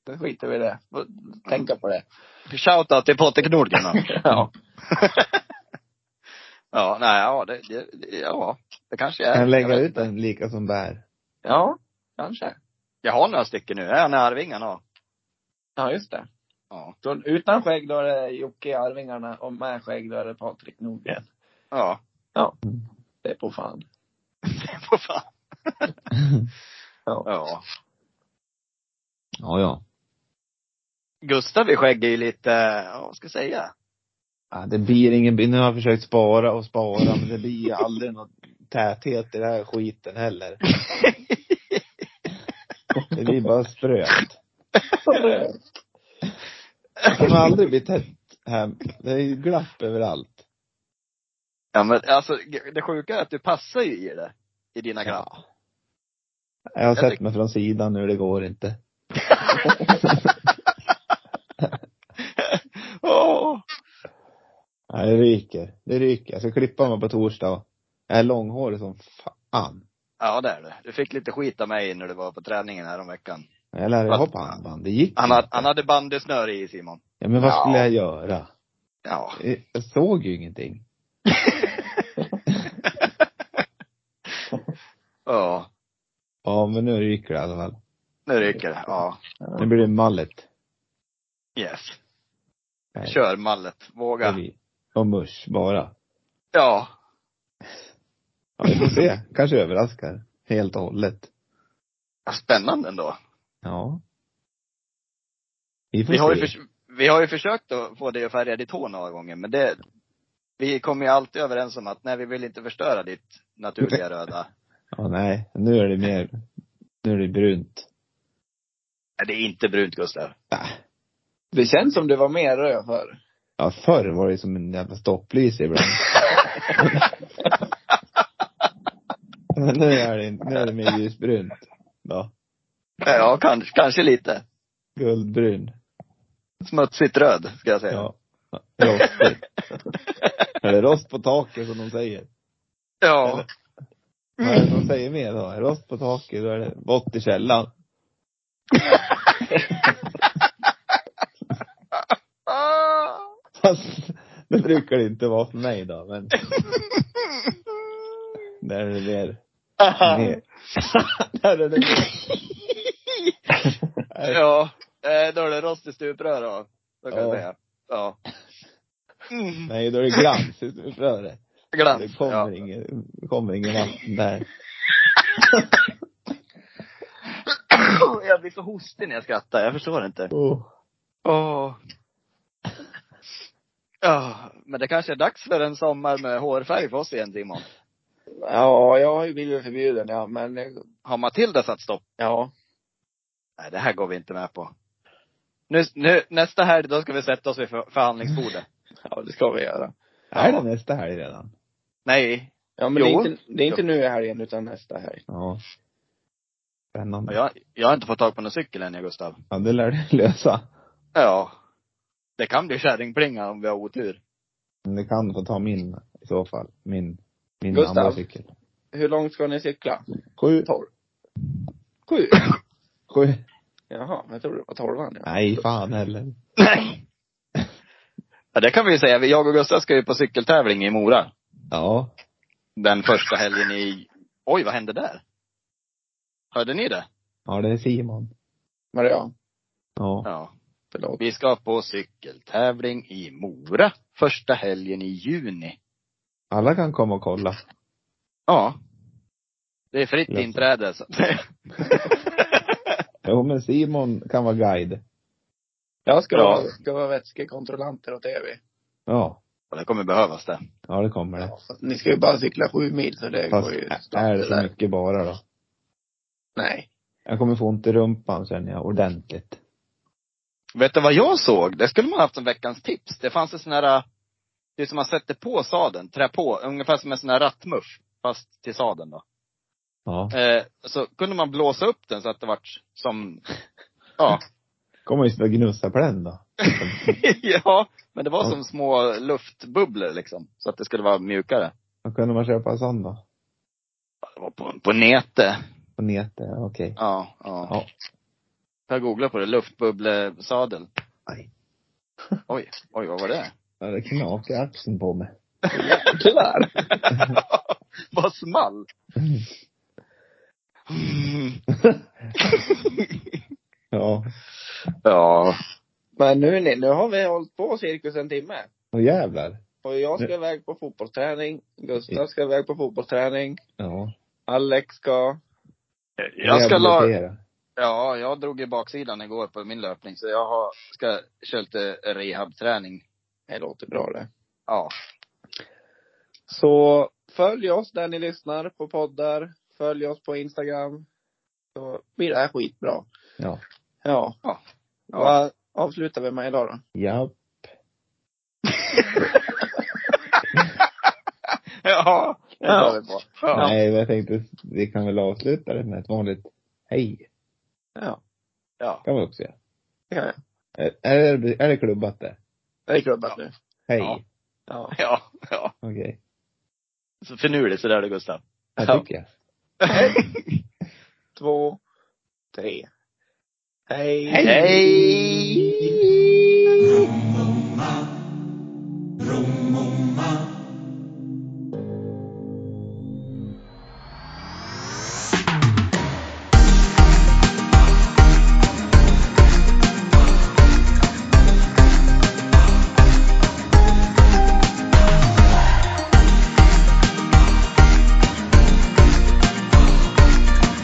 Då skiter vi i det. Får Tänka på det.
Shoutout till Patrik Nordgren då.
Ja.
[LAUGHS] Ja, nej, ja det, det, det- ja, det kanske är.
Kan jag lägga
vet
ut
inte.
den lika som bär?
Ja, kanske.
Jag har några stycken nu. Jag har en i Arvingarna. och-
Ja, just det.
Ja.
Så utan skägg då är det Jocke i Arvingarna och med skägg då är det Patrik Norgren.
Ja. [LAUGHS]
Det är på [LAUGHS] fan.
Vad fan.
Ja.
Ja.
[LAUGHS] Ja, ja.
Gustav i skägg är ju lite, ja, vad ska jag säga?
Ja, det blir ingen, nu har jag försökt spara och spara, men det blir ju aldrig någon täthet i den här skiten [LAUGHS] heller. Det blir bara spröt. Det kommer aldrig bli tätt här. Det är ju glapp överallt.
Ja men alltså det sjuka är att du passar ju i det. I dina glapp.
Ja. Jag har
Jag
sett
tycker-
mig från sidan nu, det går inte.
Åh!
Nej, det ryker. Det ryker. Jag ska klippa mig på torsdag. Jag är långhårig som fan.
Ja det är det. Du fick lite skit av mig när du var på träningen här om veckan.
Jag lärde
Vad-
ha på armband. Det gick
Han, hade-
inte.
han hade bandysnöre i Simon.
Ja, men vad
Ja.
skulle jag göra?
Ja.
Jag såg ju ingenting.
Ja.
Ja, men nu ryker det i alla fall.
Nu ryker det. Ja.
Nu blir det mallet.
Yes.
Nej,
Kör mallet.
det
Våga.
blir- Och musch bara.
Ja.
Ja, vi får se. Kanske överraskar. Helt och hållet.
Spännande ändå.
Ja. Vi får
Vi har,
se.
ju förs- vi har ju försökt att få dig att färga ditt hår några gånger, men det, vi kommer ju alltid överens om att nej, vi vill inte förstöra ditt
[LAUGHS]
naturliga röda.
Ja, nej. Nu är det mer, nu är det brunt.
Nej, det är inte brunt Gustav.
Äh.
Det känns som du var mer röd förr.
ja, förr var det ju som en jävla stopplys ibland. Men nu är det, nu är det mer ljusbrunt. Ja.
Ja, kanske, kanske lite.
Guldbrun.
Smutsigt röd, ska jag säga. Ja,
Ja. Rostigt. Eller rost på taket som de säger. Vad är det de säger mer då? Är det Rost på taket, då är det vått i källan.
Ah!
Fast det brukar det inte vara för mig då, men där är det mer,
Ah!
mer. där är det mer.
[LAUGHS] ja, eh, då är det rost i stuprör då. Så kan
Ja.
jag säga.
[LAUGHS]
Ja. Mm.
Nej, då är det glans utanför det. Det
Glans.
kommer
Ja.
inget, det kommer ingen vatten där.
[CLEARS THROAT] jag blir så hostig när jag skrattar, jag förstår inte.
Oh.
Åh. Ja, men det kanske är dags för en sommar med hårfärg för oss igen Simon.
Ja, jag har ju blivit förbjuden ja, men eh,
Har Matilda satt stopp?
ja.
Nej, det här går vi inte med på. Nu, nu, nästa helg, då ska vi sätta oss vid för, [LAUGHS] förhandlingsbordet.
Ja, det ska vi göra.
Är det nästa helg redan?
Nej,
Ja, men det
Jo.
är inte, det är inte nu i helgen utan nästa helg.
Ja. Spännande.
jag, jag har inte fått tag på någon cykel än jag, Gustav.
Ja, det lär du [LAUGHS] lösa.
Ja. Det kan bli kärringplinga om vi har otur.
Men du kan få ta min i så fall. Min, min
Gustav.
andra cykel.
Hur långt ska ni cykla?
Sju.
Tolv? Sju?
[LAUGHS] Sju.
Jaha, jag trodde det var tolvan ja.
Nej, fan heller.
Nej! Ja, det kan vi ju säga. Vi- Jag och Gustav ska ju på cykeltävling i Mora.
Ja.
Den första helgen i... Oj, vad hände där? Hörde ni det?
Ja, det är Simon.
Maria,
Ja.
Ja.
förlåt.
Vi ska på cykeltävling i Mora första helgen i juni.
Alla kan komma och kolla.
Ja. Det är fritt
Lätt.
inträde. Så.
Jo, men Simon kan vara guide.
Jag ska,
Ja.
vara, ska vara vätskekontrollanter åt Evi.
Ja.
[LAUGHS] Och det kommer behövas det.
Ja, det kommer det.
Ni ska ju bara cykla sju mil så det
Fast
går ju
är
snabbt
det
det
så
där.
mycket bara då?
Nej.
Jag kommer få ont i rumpan känner jag ordentligt.
Vet du vad jag såg? Det skulle man haft som veckans tips. Det fanns en sån här, det är som man sätter på sadeln, trä på, ungefär som en sån här rattmuff, fast till sadeln då.
Ja.
Eh, så kunde man blåsa upp den så att det vart som, [LAUGHS] ja.
Kommer ju sitta och gnussa på den då.
ja, men det var som små luftbubblor liksom. Så att det skulle vara mjukare.
Vad kunde man köpa en sån då?
Ja, Det var på, på nätet.
På nätet, ja, okej.
Ja, ja.
Ja.
Jag googlade på det, luftbubblesadel.
Aj.
Oj, oj, vad var [LAUGHS] det?
Ja, det knakar i axeln på mig.
Tyvärr.
Vad small! Mm.
Ja.
Ja.
Men nu ni, nu har vi hållit på cirkus en timme.
Åh jävlar.
Och jag ska iväg på fotbollsträning. Gustav ska iväg på fotbollsträning.
Ja.
Alex ska...
Jag ska la...
Rehabilitera.
Ja, jag drog i baksidan igår på min löpning, så jag har, ska köra lite rehabträning.
Det låter bra det.
Ja.
Så följ oss där ni lyssnar på poddar. Följ oss på Instagram. Så blir det här skitbra.
Ja.
Ja.
Ja. Ja.
Vad avslutar vi med idag då?
Ja.
[LAUGHS] Ja, det
Ja.
tar vi på. Ja.
Nej, men jag tänkte, vi kan väl avsluta det med ett vanligt hej.
Ja.
ja.
kan vi också göra.
Det kan jag.
Är, är, det- är det klubbat det?
Det är klubbat nu.
Hej.
Ja.
Ja.
Ja, ja.
Okej.
Så finurlig sådär du Gustav.
Jag tycker jag.
[LAUGHS] Två, tre. Hej!
Hej!